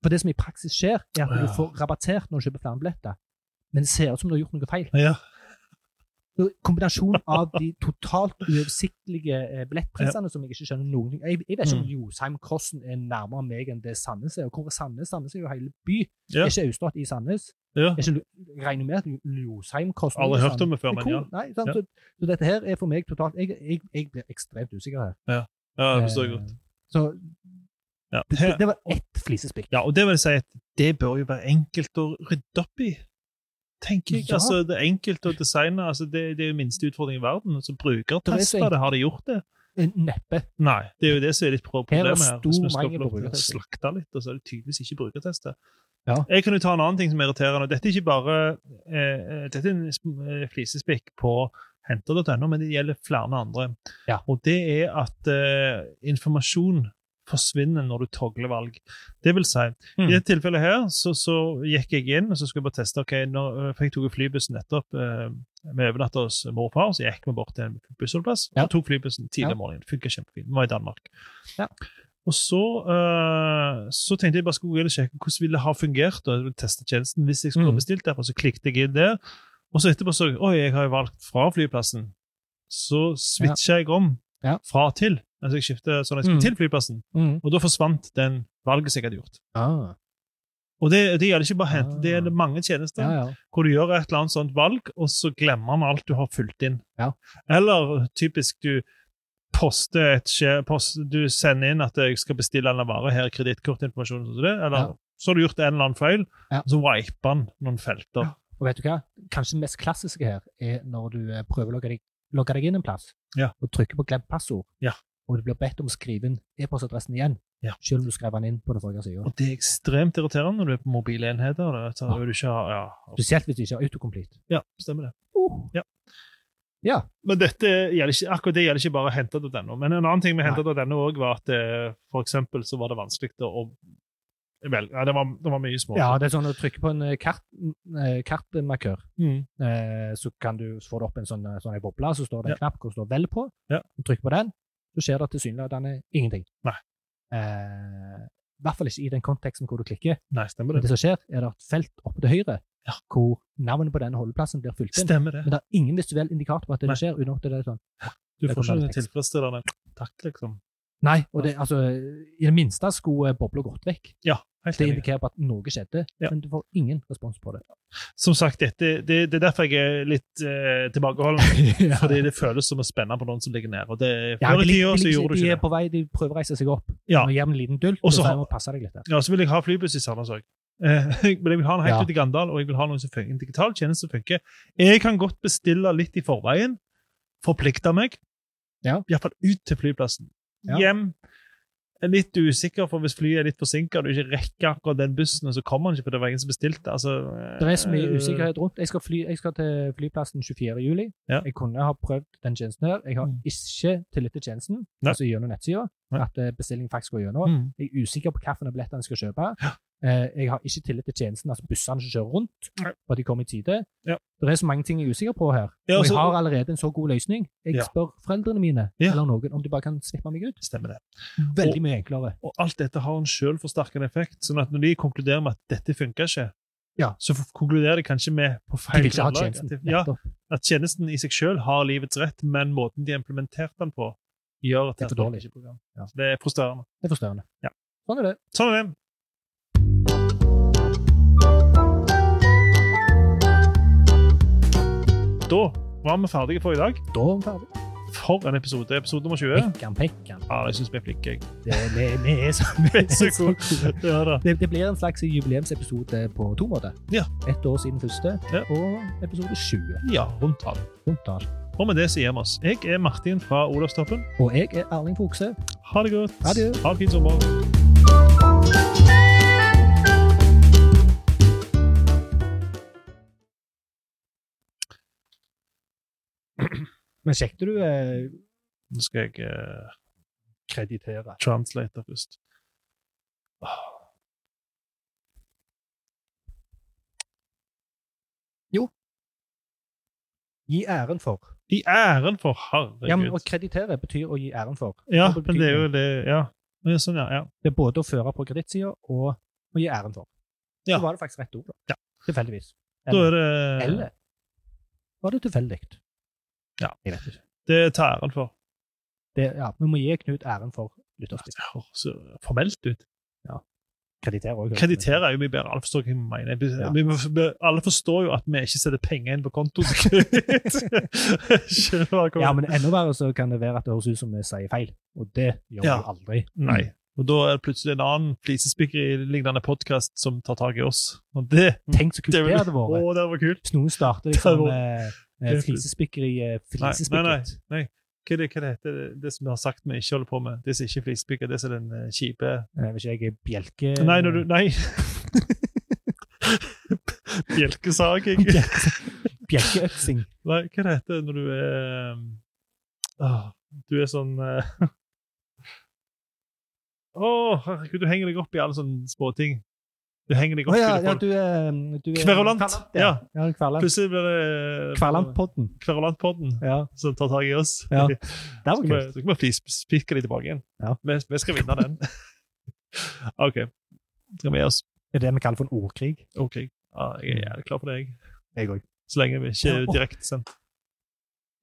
For det som i praksis skjer, er at Ja. du får rabattert når du kjøper flere billetter. Men det ser ut som du har gjort noe feil. Ja. Så Kombinasjonen av de totalt uoversiktlige eh, billettprisene som jeg ikke skjønner noen ting Jeg, jeg vet ikke Mm. om Josheim-Crossen er nærmere meg enn det Sandnes er. Og hvor er Sandnes? Sandnes er jo hele by. Ja. Er ikke Austad i Sandnes? Ja. Er ikke, Altså, Lu- regner med at Lu- Losheim-Crossen er i Aldri hørt Sandnes? om det før, Det men er ja. cool. Nei, sant? Ja. Så, så dette her er for meg totalt Jeg, jeg, jeg blir ekstremt usikker her. ja det forstår jeg Eh, godt. Så Ja. det, Eh, det var ett flisespikk. ja, og det vil si at det bør jo være enkelt å rydde opp i, tenker jeg. Ja. Altså, det er enkelt å designe. Altså, det, det er jo minste utfordring i verden. Så Det er så brukertester enkelt. det, har de gjort det? Eh, Neppe. Nei, det er jo det som er litt pro- Her er problemet her. stor Hvis vi skal få lov mangel på til å brukertester. slakte litt, og så er det tydeligvis ikke brukertester. Ja. Jeg kan jo ta en annen ting som er irriterende. Dette er ikke bare eh, eh, dette er en sp- eh, flisespikk på henter.no, men det gjelder flere andre. Ja. Og det er at eh, informasjon forsvinner når du togler valg. Det vil si, Mm. i dette tilfellet her så, så gikk jeg inn og så skulle jeg bare teste. ok, når, For jeg tok jo flybussen nettopp. Eh, vi overnatta hos mor og far, så gikk vi bort til en bussholdeplass. Ja. Og tok flybussen tidlig Ja. om morgenen. Funka kjempefint. Vi var i Danmark. Ja. Og så, eh, så tenkte jeg bare skulle gå inn og sjekke hvordan ville det ha fungert. og jeg ville teste tjenesten hvis jeg skulle Mm. ha bestilt derfor, så klikket jeg inn der. Og så etterpå så jeg oi, jeg har jo valgt fra flyplassen. Så switcha jeg om Ja. fra til. Altså jeg skiftet sånn at jeg skulle Mm. til flyplassen. Og da forsvant den valget som jeg hadde gjort. Ah. Og det, det gjelder ikke bare hente, Ah. det gjelder mange tjenester Ja, ja. hvor du gjør et eller annet sånt valg, og så glemmer han alt du har fulgt inn. Ja. Eller typisk du poster et skje- post, du sender inn at jeg skal bestille en eller annen vare, her er kredittkortinformasjon, sånn som det, eller Ja. så har du gjort en eller annen feil, Ja. og så wiper han noen felter. Og vet du hva? Kanskje det mest klassiske her er når du eh, prøver å logge deg, logge deg inn en plass, Ja. og trykker på 'glemt passord', Ja. og du blir bedt om å skrive inn e-postadressen igjen, Ja. selv om du skrev den inn på den forrige sida. Og det er ekstremt irriterende når du er på mobile enheter. og det- så vil du ikke ha, ja, Spesielt hvis du ikke har autocomplete. ja, stemmer det. Ja. Ja. Men dette gjelder ikke, akkurat det gjelder ikke bare henter.no. Men en annen ting med Nei. henter.no også var at eh, for eksempel så var det vanskelig å vel, ja, det, var, det var mye små. ja, det er sånn når du trykker på en eh, kart, eh, kartmarkør, Mm. eh, så kan du få det opp en sånn, eh, sånn en boble, så står det en Ja. knapp hvor det står 'vel' på. Ja. Du trykker på den, så skjer det tilsynelatende ingenting. Nei. Eh, I hvert fall ikke i den konteksten hvor du klikker. Nei, stemmer Men det. det som skjer, er det et felt oppe til høyre Ja. hvor navnet på den holdeplassen blir fylt inn. Stemmer det. Men det er ingen visuell indikator på at det Nei. skjer. uten at det er sånn. Du Det får kommer ikke en tekst. tilfredsstillende takt, liksom. Nei, og det, altså, i det minste skulle bobla gått vekk. Helt Det enig. indikerer på at noe skjedde, Ja. men du får ingen respons på det. Som sagt, dette, det, det er derfor jeg er litt eh, tilbakeholden. Fordi det føles som å spenne på noen som ligger nede. Og det, Ja, før de, i tida ligger- så de, gjorde du de liksom ikke er det. på vei, de prøver å reise seg opp. Ja. Nå gir vi en liten dult, Og og så så har- må du passe deg litt. der. Ja, så vil jeg ha flybuss i Sandnes òg. Men jeg vil ha den helt Ja. ut i Gandal, og jeg vil ha noen som funker, en digital tjeneste som funker. Jeg kan godt bestille litt i forveien, forplikte meg, Ja. iallfall ut til flyplassen. Ja. Hjem. Jeg er Litt usikker, for hvis flyet er litt forsinka og du ikke rekker akkurat den bussen, og så kommer han ikke, for det var ingen som bestilte. Altså, Det er så mye eh, usikkerhet rundt. Jeg skal, fly, jeg skal til flyplassen 24. juli. Ja. Jeg kunne ha prøvd den tjenesten her. Jeg har Mm. ikke tillit til tjenesten, Nei. altså gjennom nettsida, Nei. at eh, bestilling faktisk går gjennom. Mm. Jeg er usikker på hvilke billetter jeg skal kjøpe. Eh, Jeg har ikke tillit til tjenesten, altså bussene som kjører rundt, Nei. og at de kommer i tide. Ja. Det er så mange ting jeg er usikker på her. Ja, Og jeg altså- har allerede en så god løsning. Jeg Ja. spør foreldrene mine Ja. eller noen om de bare kan slippe meg ut. Stemmer det. Veldig mye enklere. Og alt dette har en selvforsterkende effekt. sånn at når de konkluderer med at dette funker ikke, Ja. så f- konkluderer de kanskje med på De feil vil ikke ha grunnlag. tjenesten. At det- Ja, nettopp. at tjenesten i seg selv har livets rett, men måten de har implementert den på, gjør at Det er for dårlig. Ja. Så Det er frustrerende. Det er forstørrende. Ja. Sånn er det. Sånn er det. Da var vi ferdige for i dag. Da er vi ferdige. For en episode. Episode nummer 20. Pekkan, pekkan. Ja, jeg syns vi er flinke. jeg. Det, vi, vi er så, vi er Så så gode. Ja, da. Det, det blir en slags jubileumsepisode på to måter. Ja. Ett år siden første, Ja. og episode 20. ja, rundt alt. Rundt alt. Og med det så gir vi oss. Jeg er Martin fra Olavstoppen. Og jeg er Erling Fokse. Ha det godt. Ha det. Ha en fin sommer. Men sjekket du eh, Nå skal jeg eh, kreditere? translate det først. Gi æren for. I æren for herregud. Ja, men Å kreditere betyr å gi æren for. Ja, Dobbelt men det er jo betydning. det Ja. Men Sånn, ja. ja. Det er både å føre på kredittsida og å gi æren for. Ja. Så var det faktisk rett ord, da. Ja. Tilfeldigvis. Da er Eller, det eller var det tilfeldig? Ja. Jeg vet ikke. Det tar æren for. Det, ja, vi må gi Knut æren for lytterspill. Det høres så formelt ut. Kreditere òg. Kreditere er jo mye bedre. Alle forstår hva jeg mener. Vi- Ja. Vi, må- alle forstår jo at vi ikke setter penger inn på kontoen til kreditt. Skjønner du hva jeg kommer- Ja, men enda verre så kan det være at det høres ut som vi sier feil, og det gjør Ja. vi jo aldri. Nei. Og da er det plutselig en annen flisespikkeri-lignende podkast som tar tak i oss. Og Mm. det Tenk så kult det, hadde vært. Å, det var kult. Hvis noen starter Det hadde liksom det eh, er- flisespikkeri eh, Nei, nei, Flisespikkeri. nei. Hva er det, hva er det, heter det, det som vi har sagt vi ikke holder på med? Det som ikke er flisespikker, det som er den eh, kjipe Eh, Hvis jeg er bjelke... Nei, når du Nei! Bjelkesaging. Bjelkeøksing. Nei, hva det heter det når du er um, ah, Du er sånn eh, Å, herregud, du henger deg opp i alle sånne småting. Du henger deg Å opp ja, i det ja, folk. du er, mm, du er Kverulant. Ja, ja kverulant. Plutselig blir det Kverulantpodden. Kverulantpodden Ja, som tar tak i oss. Ja, Så det var kan vi- kult. så kan vi flispikke de tilbake igjen. Ja. Vi, vi skal vinne den. OK. Skal vi gi oss? Det er det vi kaller for en ordkrig. OK. Ja, jeg er jævlig klar for det, jeg. Jeg òg. Så lenge vi ikke er Ja, og- direktesendt.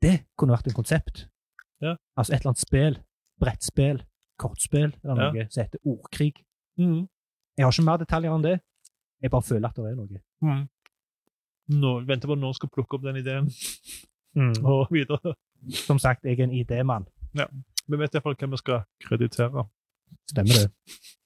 Det kunne vært en konsept. Ja. Altså et eller annet spill. Brettspill. Kortspill eller Ja. noe som heter ordkrig. Mm. Jeg har ikke mer detaljer enn det. Jeg bare føler at det er noe. Mm. Nå venter på at noen skal plukke opp den ideen og videre. Som sagt, jeg er en idémann. Vi vet iallfall hvem vi skal kreditere. Stemmer det?